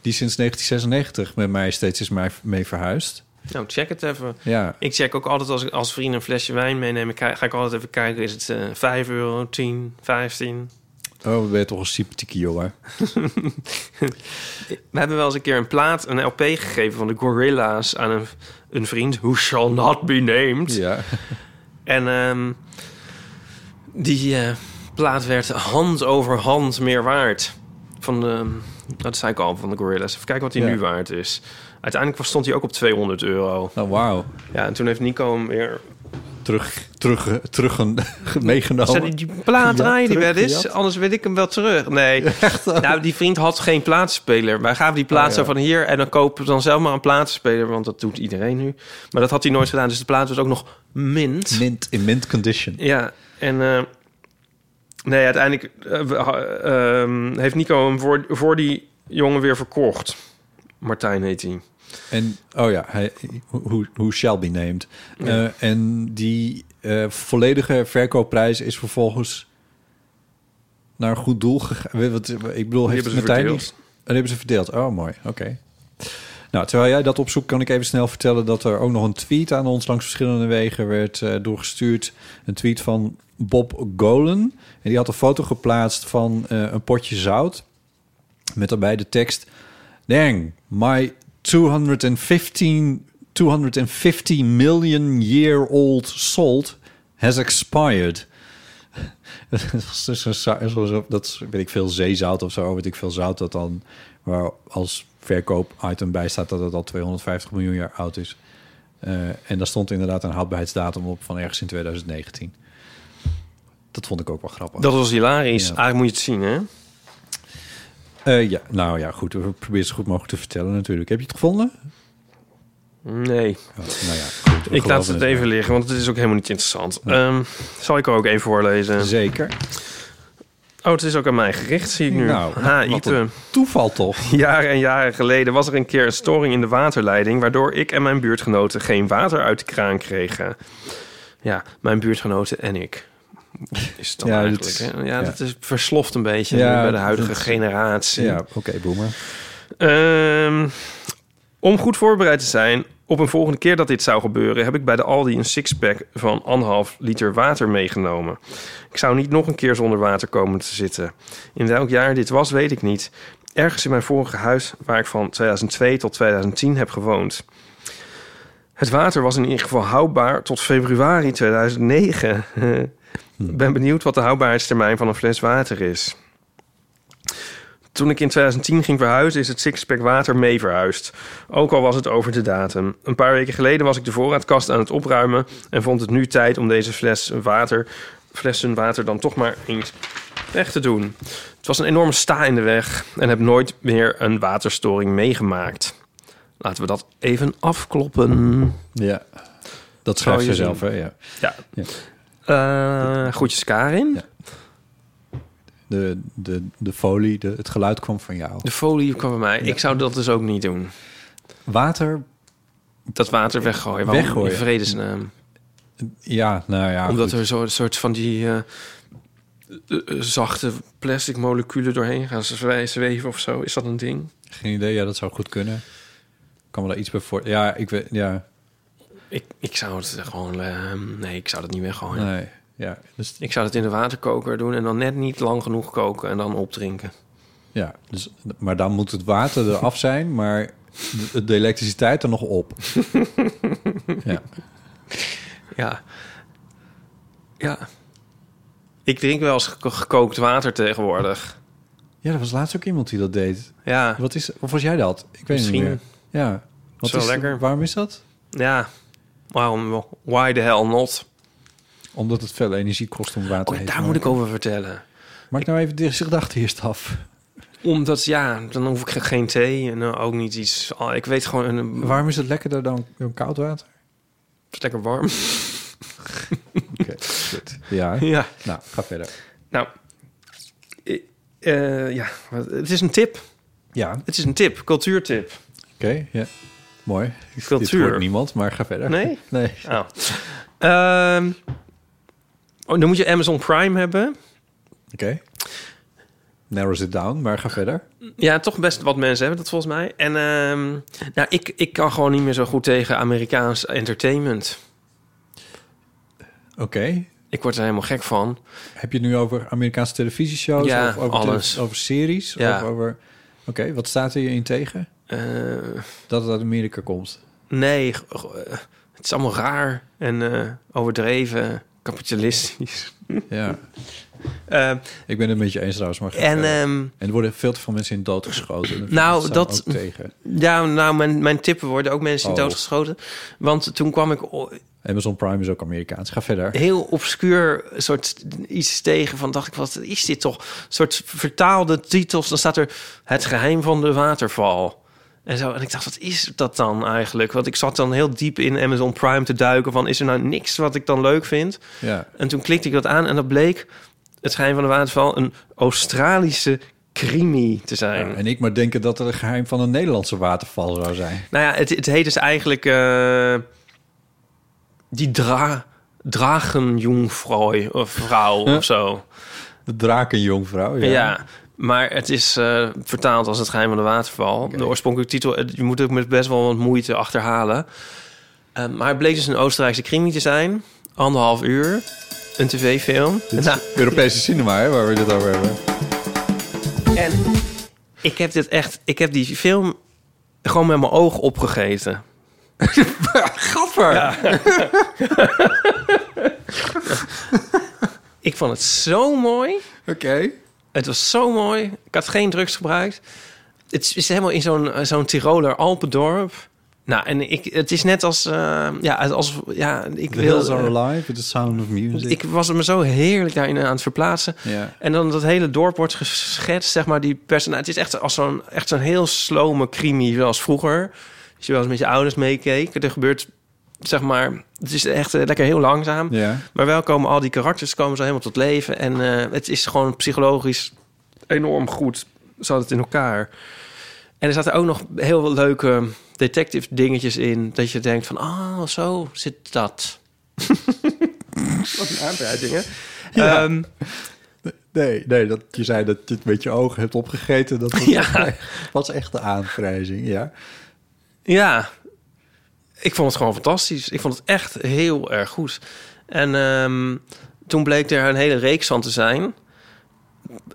die sinds 1996 met mij steeds is mij- mee verhuisd. Nou, check het even. Ja, Ik check ook altijd als ik als vrienden een flesje wijn meeneem. Ik kijk- ga ik altijd even kijken, is het eh 5 euro, 10, 15? oh, ben je toch een sympathieke jongen. We hebben wel eens een keer een plaat, een LP gegeven van de Gorilla's aan een, een vriend. Who shall not be named. Ja. En ehm, die eh, plaat werd hand over hand meer waard. Van de, nou, dat zei ik al, van de Gorilla's. Even kijken wat die Ja. nu waard is. Uiteindelijk was- stond hij ook op 200 euro. Nou, wauw. Ja, en toen heeft Nico hem weer... Terug, terug, terug een, Zou die, meegenomen. die plaat draaien die terug, wel eens? gejat. Anders wil ik hem wel terug. Nee, nou, die vriend had geen plaatspeler. Wij gaven die Oh, plaat zo van hier en dan kopen we dan zelf maar een plaatspeler. Want dat doet iedereen nu. Maar dat had hij nooit gedaan. Dus de plaat was ook nog mint. Mint, in mint condition. Ja, en eh, nee, uiteindelijk eh, we ha- ehm, heeft Nico hem voor, voor die jongen weer verkocht. Martijn heet hij. En, oh ja, hij, hoe, hoe shall be named. Eh, en die eh, volledige verkoopprijs is vervolgens naar een goed doel gegaan. Weet wat- Ik bedoel, heeft hebben ze Martijn verdeeld. niet... Dat hebben ze verdeeld. Oh, mooi. Oké. Nou, terwijl jij dat opzoekt, kan ik even snel vertellen dat er ook nog een tweet aan ons langs verschillende wegen werd eh, doorgestuurd. Een tweet van Bob Golen. En die had een foto geplaatst van eh, een potje zout. Met daarbij de tekst: Dang, my 215, 250 million year old salt has expired. dat is dus een za- zo- zo- dat is, weet ik veel, zeezout of zo, weet ik veel zout dat dan waar als verkoopitem bij staat dat het al 250 miljoen jaar oud is. Eh, en daar stond inderdaad een houdbaarheidsdatum op van ergens in 2019. Dat vond ik ook wel grappig. Dat was hilarisch. Ja. Eigenlijk moet je het zien, hè? Eh, ja, nou ja, goed. We proberen het zo goed mogelijk te vertellen natuurlijk. Heb je het gevonden? Nee, Oh, nou ja, goed. We ik laat geloven het even liggen, want het is ook helemaal niet interessant. Ehm, zal ik er ook even voorlezen? wel. Zeker. Oh, het is ook aan mij gericht, zie ik nu. Nou, ha, wat Ipe. een toeval toch? Jaren en jaren geleden was er een keer een storing in de waterleiding... waardoor ik en mijn buurtgenoten geen water uit de kraan kregen. Ja, mijn buurtgenoten en ik. Is het dan Ja, dat eigenlijk, is- hè? ja, ja. dat is versloft een beetje Ja, bij de huidige dat- generatie. Ja, oké, boemer. Ehm, om goed voorbereid te zijn op een volgende keer dat dit zou gebeuren... heb ik bij de Aldi een sixpack van anderhalf liter water meegenomen. Ik zou niet nog een keer zonder water komen te zitten. In welk jaar dit was, weet ik niet. Ergens in mijn vorige huis, waar ik van 2002 tot 2010 heb gewoond. Het water was in ieder geval houdbaar tot februari 2009. Ik ben benieuwd wat de houdbaarheidstermijn van een fles water is. Toen ik in 2010 ging verhuizen, is het sixpack water mee verhuisd. Ook al was het over de datum. Een paar weken geleden was ik de voorraadkast aan het opruimen en vond het nu tijd om deze fles water, flessen water dan toch maar eens weg te doen. Het was een enorme sta in de weg en heb nooit meer een waterstoring meegemaakt. Laten we dat even afkloppen. Ja. Dat schrijft je ze zelf, hè? Ja. Ja. Eh, groetjes Karin. De, de, de folie, de, het geluid kwam van jou. De folie kwam bij mij. Ik zou dat dus ook niet doen. Water, Dat water weggooien. Waarom Weggooien. In vredesnaam. ja, nou ja. Omdat goed. er zo'n soort van die eh, eh, zachte plastic moleculen doorheen gaan zwe- zweven of zo. Is dat een ding? Geen idee, ja, dat zou goed kunnen. Ik kan me daar iets bij voor. Ja, ik weet, ja, Ik, ik zou het gewoon... eh, nee, ik zou dat niet weggooien. nee. Ja, dus, Ik zou het in de waterkoker doen en dan net niet lang genoeg koken en dan opdrinken. ja dus, maar dan moet het water eraf zijn, maar de, de elektriciteit er nog op. ja. Ja. Ja. Ik drink wel eens geko- gekookt water tegenwoordig. ja, er was laatst ook iemand die dat deed. Ja. Wat is, of was jij dat? Ik weet het niet meer. Misschien. Ja. Wat Is wel lekker. Waarom is dat? Ja. Waarom? Why the hell not? Omdat het veel energie kost om water Oh, ja, heet te daar maken. moet ik over vertellen. Maak nou even de gedachte eerst af. Omdat, ja, dan hoef ik ge- geen thee en eh, ook niet iets... ah, ik weet gewoon, een, Waarom is het lekkerder dan, dan koud water? het is lekker warm. Oké, goed. Ja. ja. Nou, ga verder. Nou, eh, eh, ja, wat- het is een tip. Ja, oké. Het is een tip, cultuurtip. ja. Mooi. Dit Cultuur. hoort niemand, maar ga verder. Nee? Nee. Oh. Ehm, oh, dan moet je Amazon Prime hebben. Oké. Narrows it down, maar ga verder. Ja, toch best wat mensen hebben dat volgens mij. En ehm, nou, ik, ik kan gewoon niet meer zo goed tegen Amerikaans entertainment. Oké. Ik word er helemaal gek van. Heb je het nu over Amerikaanse televisieshows? Ja, of over, alles. tele- over series? Ja. Of over... Oké, wat staat er je in tegen? Eh, Dat het uit Amerika komt. nee, g- g- eh, het is allemaal raar en eh, overdreven, kapitalistisch. Ja. Eh, Ik ben het met je eens trouwens, maar ga en verder. ehm, En er worden veel te veel mensen in doodgeschoten. En Nou, staat dat- ook tegen. ja, nou, mijn, mijn tippen worden ook mensen Oh. doodgeschoten. Want toen kwam ik o- Amazon Prime is ook Amerikaans. Ga verder. heel obscuur soort iets tegen van dacht ik wat is dit toch soort vertaalde titels dan staat er het geheim van de waterval en zo en ik dacht wat is dat dan eigenlijk want ik zat dan heel diep in Amazon Prime te duiken van is er nou niks wat ik dan leuk vind Ja. en toen klikte ik dat aan en dat bleek het geheim van de waterval een Australische crimi te zijn En ik maar denken dat het een geheim van een Nederlandse waterval zou zijn. nou ja het, het heet dus eigenlijk eh, die dra dragenjongvrouw of vrouw of zo De drakenjongvrouw. Ja. Ja. maar het is eh, vertaald als het geheim van de waterval. De oorspronkelijke titel, eh, je moet het met best wel wat moeite achterhalen. Eh, maar het bleek dus een Oostenrijkse crimi te zijn. Anderhalf uur, een tv-film. Dit is Nou, Europese cinema, hè, waar we dit over hebben. en ik heb dit echt, ik heb die film gewoon met mijn oog opgegeten. Gaffer! Ik vond het zo mooi. Oké. Het was zo mooi. Ik had geen drugs gebruikt. Het is- is helemaal in zo'n eh, zo'n Tiroler Alpendorp. Nou, en ik, het is net als... eh, ja, als, ja, ik The wil... Hills Are eh, Alive with the Sound of Music. ik was me zo heerlijk daarin aan het verplaatsen. Ja. En dan dat hele dorp wordt geschetst, zeg maar, die personage. Het is echt als zo'n echt zo'n heel slome crimi, zoals vroeger. Als je wel eens met je ouders meekeek. Er gebeurt, zeg maar, het is echt eh, lekker heel langzaam. ja. Maar wel komen al die karakters komen zo helemaal tot leven. En eh, het is gewoon psychologisch enorm goed. Zat het in elkaar. En er zaten ook nog heel veel leuke detective dingetjes in. Dat je denkt van, ah, zo zit dat. Wat een aanbreiding, hè? Ja. Ehm, Nee, nee dat, je zei dat je het met je ogen hebt opgegeten. Dat was, Ja. was echt de aanprijzing, ja. ja. Ik vond het gewoon fantastisch. Ik vond het echt heel erg goed. En ehm, toen bleek er een hele reeks van te zijn.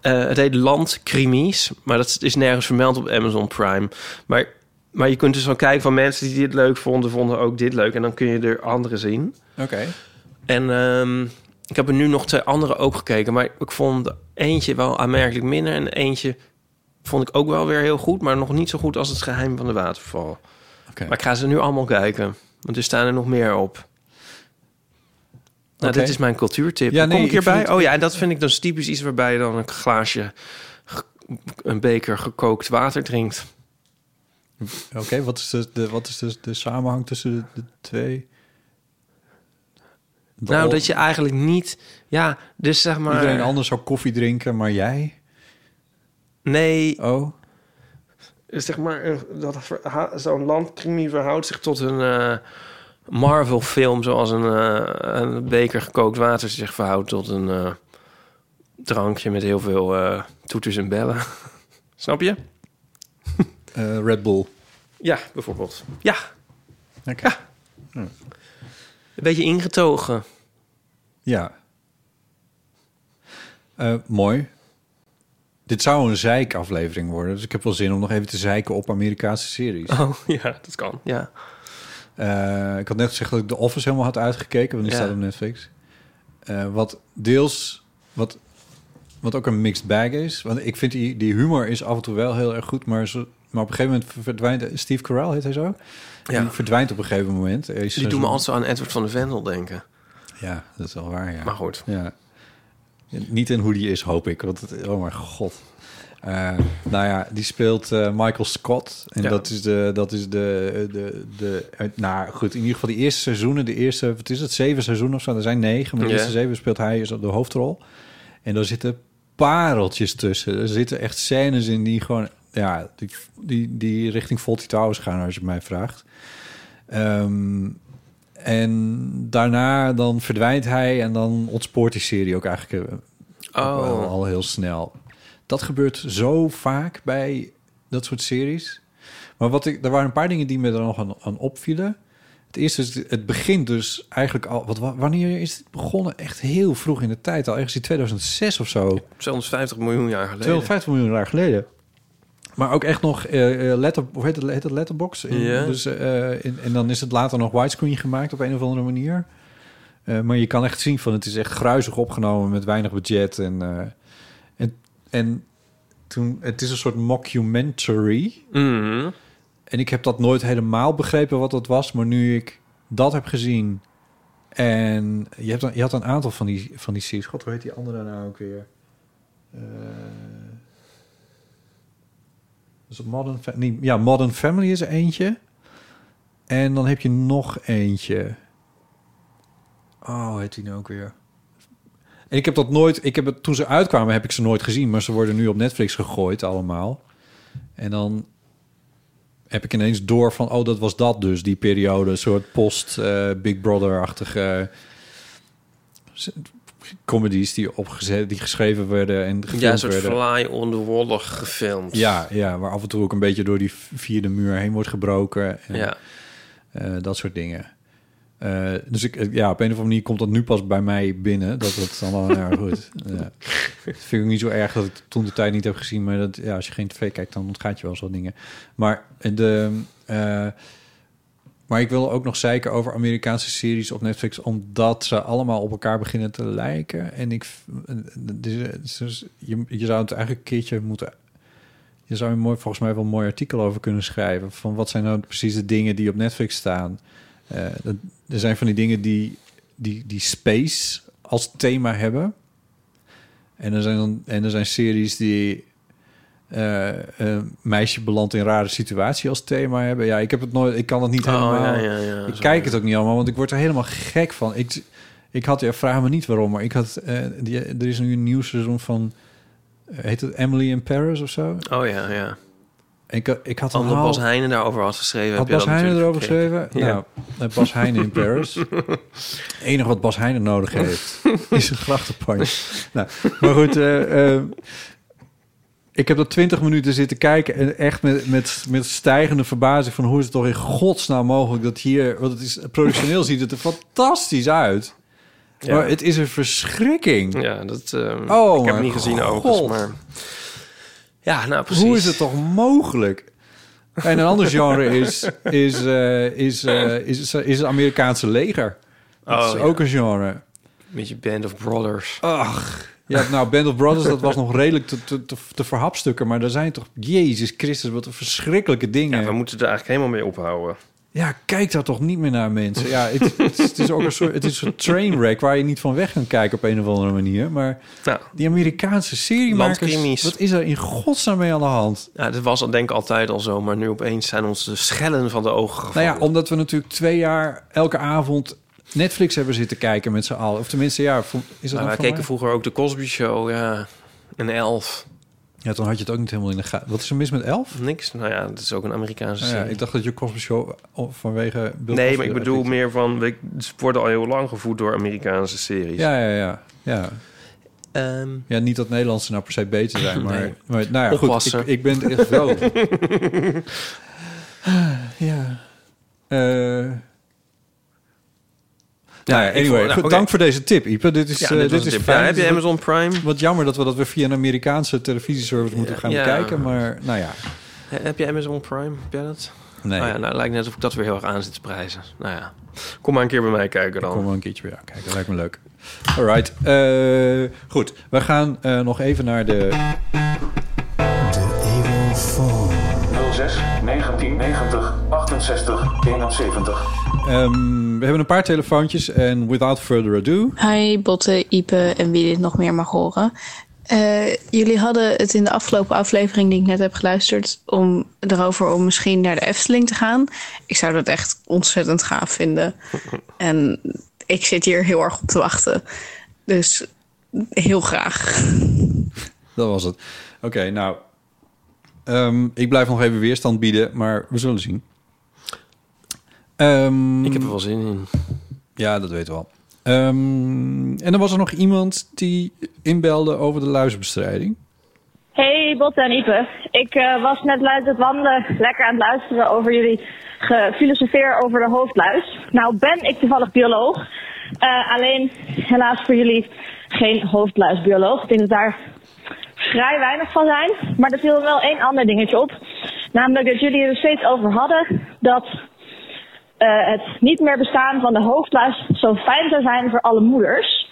Eh, het heet Landcrimies, maar dat is nergens vermeld op Amazon Prime. Maar, maar je kunt dus wel kijken van mensen die dit leuk vonden, vonden ook dit leuk. En dan kun je er andere zien. Oké. En ehm, ik heb er nu nog twee andere ook gekeken. Maar ik vond de eentje wel aanmerkelijk minder. En de eentje vond ik ook wel weer heel goed. Maar nog niet zo goed als het geheim van de waterval. Oké. Maar ik ga ze nu allemaal kijken. Want er staan er nog meer op. Nou, Oké. dit is mijn cultuurtip. Ja, Ja, nee, Kom ik ik hierbij? vind het- Oh ja, en dat vind ik dus typisch iets waarbij je dan een glaasje... ge- een beker gekookt water drinkt. Oké, wat is, de, de, wat is dus de samenhang tussen de, de twee? De Nou, al- dat je eigenlijk niet... Ja, dus zeg maar... Iedereen anders zou koffie drinken, maar jij? Nee, Oh, zeg maar, eh, dat verha- zo'n landcrimie verhoudt zich tot een eh, Marvel-film... zoals een, eh, een beker gekookt water zich verhoudt tot een eh, drankje met heel veel eh, toeters en bellen. Snap je? eh, Red Bull. Ja, bijvoorbeeld. Ja, Oké. Hm. een beetje ingetogen. Ja. Eh, mooi. Dit zou een zeikaflevering worden, dus ik heb wel zin om nog even te zeiken op Amerikaanse series. Oh, ja, dat kan. Ja. Eh, ik had net gezegd dat ik The Office helemaal had uitgekeken, want die Ja. staat op Netflix. Eh, wat deels, wat, wat ook een mixed bag is. Want ik vind die, die humor is af en toe wel heel erg goed, maar, zo, maar op een gegeven moment verdwijnt... Steve Carell heet hij zo? Ja. Die verdwijnt op een gegeven moment. Er is Die een doen me soort- altijd zo aan Edward van de Vendel denken. Ja, dat is wel waar, ja. Maar goed. Ja. Niet in hoe die is, hoop ik. Want het, oh mijn god. Eh, nou ja, die speelt eh, Michael Scott. En Ja. dat is de... Dat is de, de, de uit- nou goed, in ieder geval die eerste seizoenen. De eerste, wat is het, zeven seizoenen of zo? Er zijn negen, maar de Ja. eerste zeven speelt hij is de hoofdrol. En daar zitten pareltjes tussen. Er zitten echt scènes in die gewoon... Ja, die, die, die richting Fawlty Towers gaan, als je het mij vraagt. Ehm, en daarna dan verdwijnt hij en dan ontspoort die serie ook eigenlijk eh, ook wel Oh, al heel snel. Dat gebeurt zo vaak bij dat soort series. Maar wat ik, er waren een paar dingen die me er nog aan, aan opvielen. Het eerste is, het begint dus eigenlijk al... Wat, wa- wanneer is het begonnen? Echt heel vroeg in de tijd al. Ergens in 2006 of zo. 250 miljoen jaar geleden. 250 miljoen jaar geleden. Maar ook echt nog eh eh, letter, hoe heet het, heet het letterbox? In- Ja. dus, eh, in- en dan is het later nog widescreen gemaakt op een of andere manier. Eh, maar je kan echt zien van het is echt gruizig opgenomen met weinig budget. En, eh, en, en toen, het is een soort mockumentary. Mhm. En ik heb dat nooit helemaal begrepen wat dat was. Maar nu ik dat heb gezien. En je, hebt, dan- je had een aantal van die, van die series. God, hoe heet die andere nou ook weer? Eh, is het Modern Fa- nee, ja, Modern Family is er eentje. En dan heb je nog eentje. Oh, hoe heet die nou ook weer? En ik heb dat nooit... Ik heb het, toen ze uitkwamen heb ik ze nooit gezien. Maar ze worden nu op Netflix gegooid allemaal. En dan heb ik ineens door van... Oh, dat was dat dus, die periode. Een soort post-Big Brother-achtige... eh, comedies die, opgezet, die geschreven werden en gefilmd Ja, een soort werden. fly on the wall gefilmd. Ja, ja, waar af en toe ook een beetje door die vierde muur heen wordt gebroken. En, ja. eh, dat soort dingen. Eh, dus ik, eh, ja, op een of andere manier komt dat nu pas bij mij binnen. Dat dat dan wel ja, goed. Ja. Dat vind ik ook niet zo erg dat ik toen de tijd niet heb gezien. Maar dat, ja, als je geen tv kijkt, dan ontgaat je wel zo'n dingen. Maar, eh, de, eh, maar ik wil ook nog zeiken over Amerikaanse series op Netflix. Omdat ze allemaal op elkaar beginnen te lijken. En ik, v- eh, dus, eh, dus je, je zou het eigenlijk een keertje moeten je zou er mooi, volgens mij wel een mooi artikel over kunnen schrijven. Van wat zijn nou precies de dingen die op Netflix staan? Eh, dat, er zijn van die dingen die, die, die space als thema hebben. En er zijn, dan, en er zijn series die eh, een meisje belandt in een rare situatie als thema hebben. Ja, ik heb het nooit, ik kan het niet helemaal. Oh, ja, ja, ja. Ik Zo. kijk het ook niet allemaal, want ik word er helemaal gek van. Ik, ik had, ja, vraag me niet waarom, maar ik had, eh, die, er is nu een nieuw seizoen van, eh, heet het Emily in Paris of zo? Oh ja, ja. Ik, eh, ik had een Omdat haal- Bas Heijnen daarover had geschreven. nou had heb Bas je dat Heijnen natuurlijk erover geschreven? Ja. Nou, eh, Bas Heijnen in Paris. Het enige wat Bas Heijnen nodig heeft, is een grachtenpandje. nou, maar goed, eh, eh, ik heb dat 20 minuten zitten kijken... en echt met, met, met stijgende verbazing van... hoe is het toch in godsnaam mogelijk dat hier... want het is, productioneel ziet het er fantastisch uit... Ja. maar het is een verschrikking. Ja, dat... ehm, Oh, ik heb mijn hem niet gezien God. overigens, maar... Ja, nou precies. Hoe is het toch mogelijk? En een ander genre is, is, eh, is, eh, is, is, het Amerikaanse leger. Dat Oh, is ja. ook een genre. Met je band of brothers. Ach. Ja, nou, Band of Brothers, dat was nog redelijk te, te, te, te verhapstukken. Maar daar zijn toch... Jezus Christus, wat een verschrikkelijke dingen. Ja, we Ja, moeten er eigenlijk helemaal mee ophouden. kijk daar toch niet meer naar, mensen. Ja, het, het, is- het is ook een soort... Het is een trainwreck waar je niet van weg kan kijken op een of andere manier. Maar Nou, die Amerikaanse seriemakers... Landcrimies. Wat is er in godsnaam mee aan de hand? ja, dat was al denk ik altijd al zo, maar nu opeens zijn ons de schellen van de ogen Nou gevallen. ja, omdat we natuurlijk twee jaar elke avond Netflix hebben zitten kijken met z'n allen. Of tenminste, ja, vo- is dat Nou, nou, wij keken vroeger ook de Cosby Show, ja. En Elf. Ja, dan had je het ook niet helemaal in de gaten. Wat is er mis met elf? Niks. Nou ja, dat is ook een Amerikaanse Nou ja, serie. ik dacht dat je Cosby Show of vanwege... Bill nee, Cosby maar ik had bedoel meer van... we- Ze worden al heel lang gevoed door Amerikaanse series. Ja, ja, ja. ja. Ehm, Ja, niet dat Nederlandse nou per se beter zijn, maar, maar nou ja, goed, Opwassen. ik, ik ben echt wel. Ah, ja. Eh nou ja, ik vond- anyway, nou, goed, oké. dank voor deze tip, Ipe. Dit is, ja, eh, dit, dit was is een tip. fijn. Ja, heb je Dit is Amazon Prime? Wat jammer dat we dat weer via een Amerikaanse televisieservice moeten gaan Ja. Oh. bekijken, maar nou ja. He- Heb je Amazon Prime? Heb jij dat? Nee, Oh ja, nou, lijkt net of ik dat weer heel erg aan zit te prijzen. Nou ja, kom maar een keer bij mij kijken dan. kom maar een keertje weer aankijken, lijkt me leuk. All right, eh, goed. We gaan eh, nog even naar de 06 1990 68 71. Ehm, we hebben een paar telefoontjes en without further ado. Hi Botte, Ipe en wie dit nog meer mag horen. Eh, jullie hadden het in de afgelopen aflevering die ik net heb geluisterd... om erover om misschien naar de Efteling te gaan. Ik zou dat echt ontzettend gaaf vinden. En ik zit hier heel erg op te wachten. Dus heel graag. Dat was het. Oké, nou. ehm, ik blijf nog even weerstand bieden, maar we zullen zien. Ehm, Ik heb er wel zin in. Ja, dat weten we al. Ehm, en dan was er nog iemand die inbelde over de luizenbestrijding. Hey Botte en Ipe. Ik eh, was net luid het wandelen lekker aan het luisteren over jullie gefilosofeer over de hoofdluis. Nou ben ik toevallig bioloog. Eh, alleen helaas voor jullie geen hoofdluisbioloog. Ik denk dat daar vrij weinig van zijn. Maar er viel wel één ander dingetje op. Namelijk dat jullie er steeds over hadden dat eh, het niet meer bestaan van de hoofdluis zo fijn zou zijn voor alle moeders.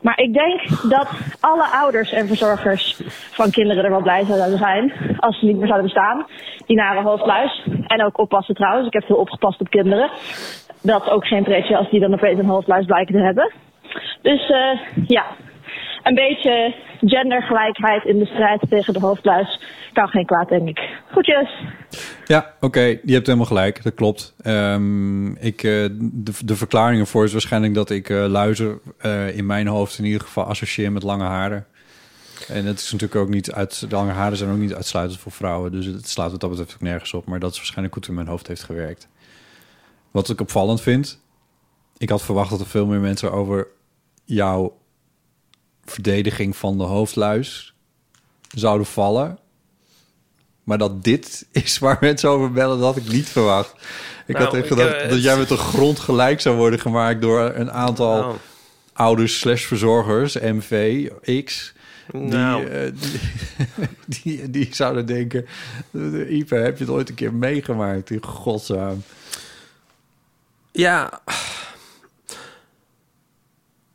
Maar ik denk dat alle ouders en verzorgers van kinderen er wel blij zouden zijn als ze niet meer zouden bestaan. Die nare hoofdluis. En ook oppassen trouwens. Ik heb veel opgepast op kinderen. Dat ook geen pretje als die dan opeens een hoofdluis blijken te hebben. Dus eh, ja, een beetje gendergelijkheid in de strijd tegen de hoofdluis kan geen kwaad, denk ik. Goedjes! Ja, oké, je hebt helemaal gelijk. Dat klopt. Ehm, ik, eh, de, de verklaring ervoor is waarschijnlijk dat ik eh, luizen eh, in mijn hoofd in ieder geval associeer met lange haren. En dat is natuurlijk ook niet uit. De lange haren zijn ook niet uitsluitend voor vrouwen. Dus het slaat wat dat betreft ook nergens op. Maar dat is waarschijnlijk goed in mijn hoofd heeft gewerkt. Wat ik opvallend vind. Ik had verwacht dat er veel meer mensen over jouw verdediging van de hoofdluis zouden vallen. Maar dat dit is waar mensen over bellen, dat had ik niet verwacht. Ik Nou, had echt ik, gedacht eh, dat jij met de grond gelijk zou worden gemaakt door een aantal Nou, ouders slash verzorgers, MV, X. Die, Nou. eh, die, die, die zouden denken... eh, Ipe, heb je het ooit een keer meegemaakt? In godsnaam. Ja.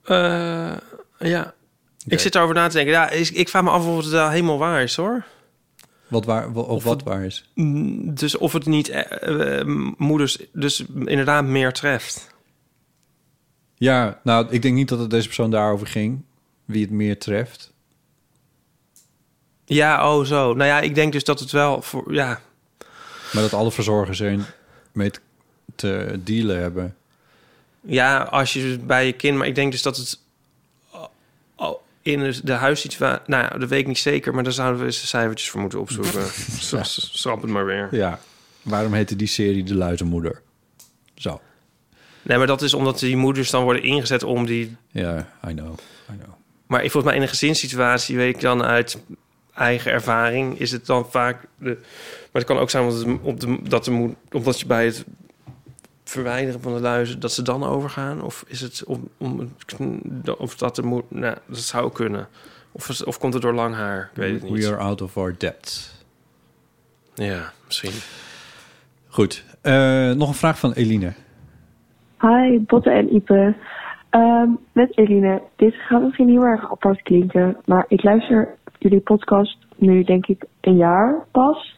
Eh, ja. Ik zit daarover na te denken. Ja, is- ik vraag me af of het daar helemaal waar is, hoor. Wat waar, wa- of, wat waar is. Mm, Dus of het niet eh, eh, moeders dus inderdaad meer treft. Ja, nou, ik denk niet dat het deze persoon daarover ging. Wie het meer treft. Ja, oh zo. Nou ja, ik denk dus dat het wel voor... Ja, Maar dat alle verzorgers erin mee te- te dealen hebben. ja als je dus bij je kind... Maar ik denk dus dat het oh, in de huissituatie... Nou ja, dat weet ik niet zeker. Maar daar zouden we eens de cijfertjes voor moeten opzoeken. ja. Schrap het maar weer. Ja. Waarom heette die serie De Luizenmoeder? Zo. Nee, maar dat is omdat die moeders dan worden ingezet om die Ja, I know. I know. Maar ik- volgens mij in een gezinssituatie weet ik dan uit eigen ervaring is het dan vaak. De, maar het kan ook zijn omdat, het op de, dat de moed, omdat je bij het verwijderen van de luizen dat ze dan overgaan, of is het om, om het kn- of dat de moed, nou, dat zou kunnen, of, is- of komt het door lang haar? Ik weet het We niet. are out of our depth. Ja, misschien. Goed. Eh, nog een vraag van Eline. Hi, Botte en Ipe. Ehm, met Eline. Dit gaat misschien heel erg apart klinken, maar ik luister jullie podcast nu denk ik een jaar pas.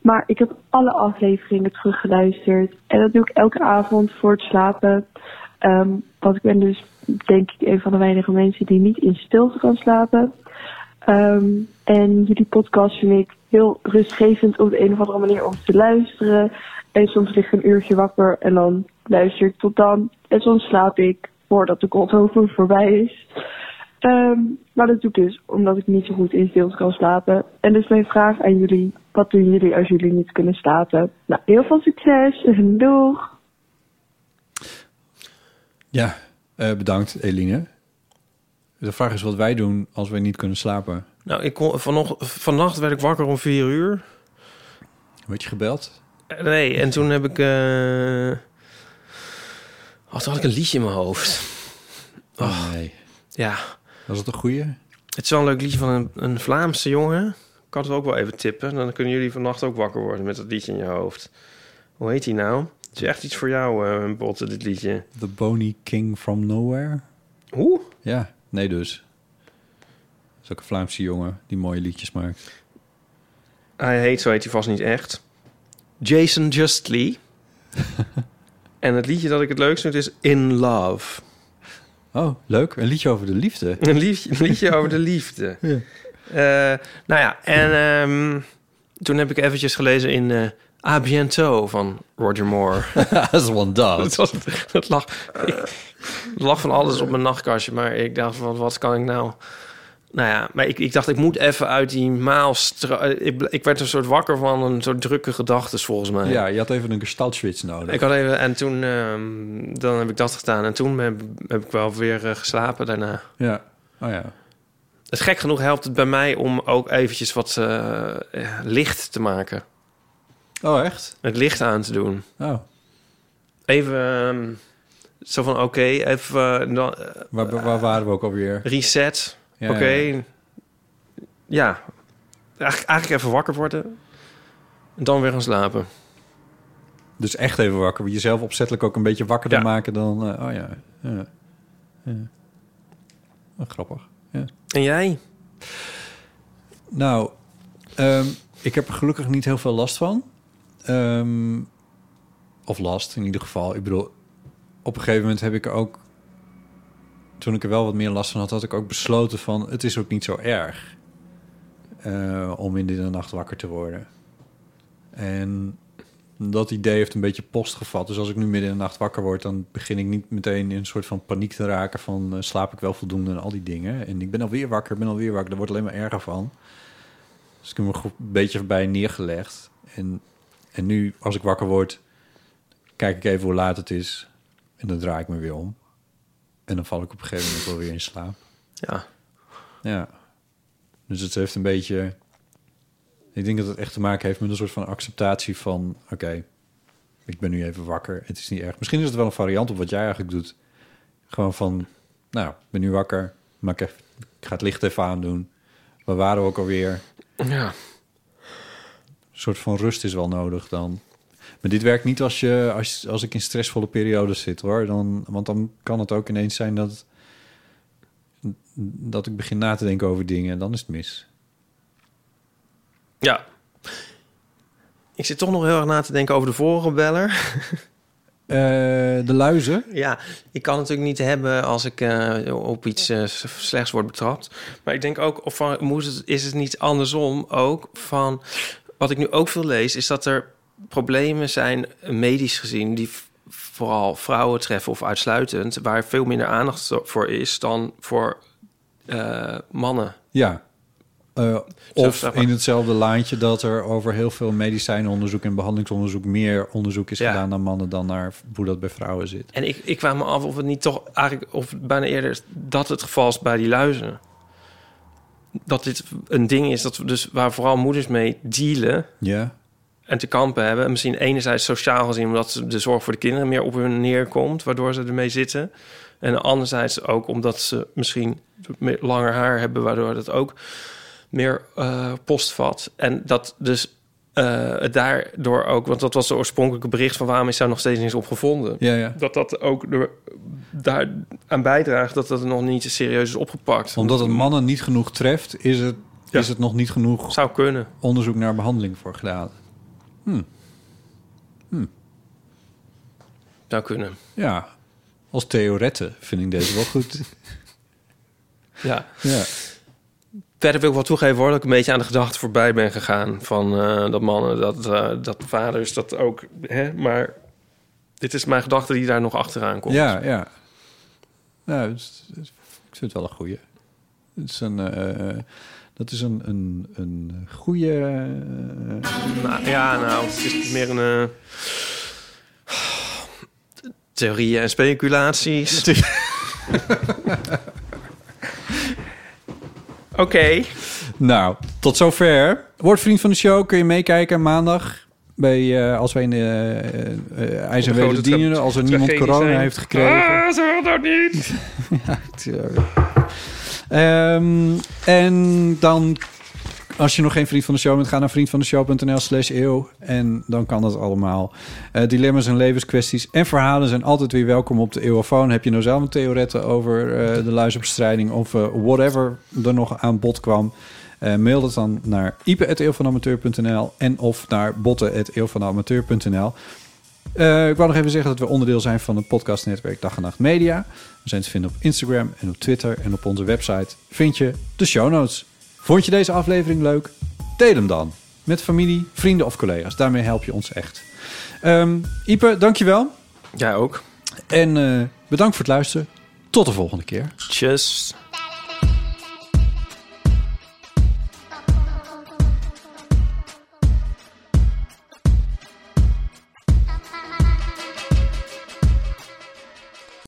Maar ik heb alle afleveringen teruggeluisterd en dat doe ik elke avond voor het slapen. Ehm, want ik ben dus denk ik een van de weinige mensen die niet in stilte kan slapen. Ehm, en jullie podcast vind ik heel rustgevend op de een of andere manier om te luisteren. En soms lig ik een uurtje wakker en dan luister ik tot dan en soms slaap ik voordat de Godhover voorbij is. Ehm, maar dat doe ik dus omdat ik niet zo goed in stilte kan slapen. En dus mijn vraag aan jullie, wat doen jullie als jullie niet kunnen slapen? Nou, heel veel succes en doeg! Ja, eh, bedankt Eline. De vraag is wat wij doen als wij niet kunnen slapen. Nou, ik kon, vanocht, vannacht werd ik wakker om vier uur. Word je gebeld? Eh, Nee, en toen heb ik... eh oh, toen had ik een liedje in mijn hoofd. Oh, nee. Ja. Was dat een goeie? Het is wel een leuk liedje van een, een Vlaamse jongen. Ik kan het ook wel even tippen. Dan kunnen jullie vannacht ook wakker worden met dat liedje in je hoofd. Hoe heet die nou? Het is echt iets voor jou, eh Botte, dit liedje. The Bony King from Nowhere? Hoe? Ja, nee dus. Dat is ook een Vlaamse jongen die mooie liedjes maakt. Hij heet, zo heet hij vast niet echt. Jason Justly. en het liedje dat ik het leukst vind is In Love. Oh, leuk. Een liedje over de liefde. Een liedje, een liedje over de liefde. Eh, nou ja, en ehm, toen heb ik eventjes gelezen in eh A Bientôt van Roger Moore. As one does. Het, was, het, lag, ik, het lag van alles op mijn nachtkastje, maar ik dacht van wat kan ik nou... Nou ja, maar ik, ik dacht ik moet even uit die maalstra... Ik, ble- ik werd een soort wakker van een soort drukke gedachtes volgens mij. Ja, je had even een gestalt switch nodig. Ik had even, en toen ehm, dan heb ik dat gedaan. En toen heb, heb ik wel weer eh, geslapen daarna. Ja, oh ja. Het gek genoeg helpt het bij mij om ook eventjes wat eh, eh, licht te maken. Oh, echt? Het licht aan te doen. Oh. Even ehm, zo van oké, even eh, dan, eh, Waar, waar waren we ook alweer? reset. Ja, oké. ja. Ja. Eigen- eigenlijk even wakker worden. En dan weer gaan slapen. Dus echt even wakker. Jezelf opzettelijk ook een beetje wakkerder maken dan... eh, oh ja. ja. ja. Wel grappig. Ja. En jij? Nou, ehm, ik heb er gelukkig niet heel veel last van. Ehm, of last in ieder geval. Ik bedoel, op een gegeven moment heb ik er ook... Toen ik er wel wat meer last van had, had ik ook besloten van... het is ook niet zo erg eh, om in de nacht wakker te worden. En dat idee heeft een beetje post gevat. Dus als ik nu midden in de nacht wakker word... dan begin ik niet meteen in een soort van paniek te raken... van eh, slaap ik wel voldoende en al die dingen. En ik ben alweer wakker, ik ben alweer wakker. Daar wordt alleen maar erger van. Dus ik heb me goed- een beetje bij neergelegd. En, en nu, als ik wakker word, kijk ik even hoe laat het is. En dan draai ik me weer om. En dan val ik op een gegeven moment wel weer in slaap. Ja. Ja. Dus het heeft een beetje... Ik denk dat het echt te maken heeft met een soort van acceptatie van... Oké, ik ben nu even wakker. Het is niet erg. Misschien is het wel een variant op wat jij eigenlijk doet. Gewoon van, nou, ik ben nu wakker. Maak even, ik ga het licht even aandoen. Waar waren we ook alweer? Ja. Een soort van rust is wel nodig dan. Maar dit werkt niet als, je, als, als ik in stressvolle periodes zit hoor. Dan, want dan kan het ook ineens zijn dat, dat ik begin na te denken over dingen. En dan is het mis. Ja. Ik zit toch nog heel erg na te denken over de vorige beller. Eh, de luizen? Ja, ik kan het natuurlijk niet hebben als ik eh, op iets eh, s- slechts word betrapt. Maar ik denk ook, of van, moet het, is het niet andersom ook van... Wat ik nu ook veel lees, is dat er problemen zijn, eh, medisch gezien... die v- vooral vrouwen treffen of uitsluitend... waar veel minder aandacht zo- voor is dan voor eh, mannen. Ja. Eh, of zeg maar. in hetzelfde laantje dat er over heel veel medicijnonderzoek en behandelingsonderzoek meer onderzoek is gedaan naar mannen dan naar hoe dat bij vrouwen zit. En ik, ik vraag me af of het niet toch eigenlijk... of het bijna eerder dat het geval is bij die luizen. Dat dit een ding is dat we dus, waar vooral moeders mee dealen... Ja. en te kampen hebben. En misschien enerzijds sociaal gezien... omdat de zorg voor de kinderen meer op hun neerkomt... waardoor ze ermee zitten. En anderzijds ook omdat ze misschien meer langer haar hebben... waardoor dat ook meer eh, postvat. En dat dus... eh, het daardoor ook, want dat was de oorspronkelijke bericht van waarom is daar nog steeds niks op gevonden Ja, ja. dat dat ook er- daar aan bijdraagt dat dat nog niet serieus is opgepakt. Omdat het mannen niet genoeg treft, is het, Ja. is het nog niet genoeg zou kunnen. onderzoek naar behandeling voor gedaan. Zou kunnen. Ja, als theorette vind ik deze wel goed. Ja. Ja. Verder wil ik wel toegeven hoor, dat ik een beetje aan de gedachte voorbij ben gegaan. Van eh, dat mannen, dat, eh, dat vaders, dat ook. Hè? Maar Dit is mijn gedachte die daar nog achteraan komt. Ja, ja. Nou, het is- het is- ik vind het wel een goeie. Het is een, eh, dat is een, een, een eh, goede... Nou, ja, nou, het is meer een... eh, theorieën en speculaties. Oké. Nou, tot zover. Word vriend van de show. Kun je meekijken maandag. Bij, eh, als wij in de eh, eh, IJs en Grote Weder dienen. tra- Als er niemand tragedie corona zijn. heeft gekregen. Ah, ze wil dat niet. Ja, tuurlijk. Ehm, en dan, als je nog geen vriend van de show bent, ga naar vriendvandeshow.nl slash eeuw. En dan kan dat allemaal. Eh, dilemma's en levenskwesties en verhalen zijn altijd weer welkom op de eeuwofoon. Heb je nou zelf een theorette over eh, de luisterbestrijding of eh, whatever er nog aan bod kwam? eh, mail dat dan naar ipe.eeuwvanamateur.nl en of naar botten.eeuwvanamateur.nl. Eh, ik wou nog even zeggen dat we onderdeel zijn van het podcastnetwerk Dag en Nacht Media. We zijn te vinden op Instagram en op Twitter. En op onze website vind je de show notes. Vond je deze aflevering leuk? Deel hem dan. Met familie, vrienden of collega's. Daarmee help je ons echt. Ehm Ipe, dankjewel. Jij ook. En eh, bedankt voor het luisteren. Tot de volgende keer. Tjus.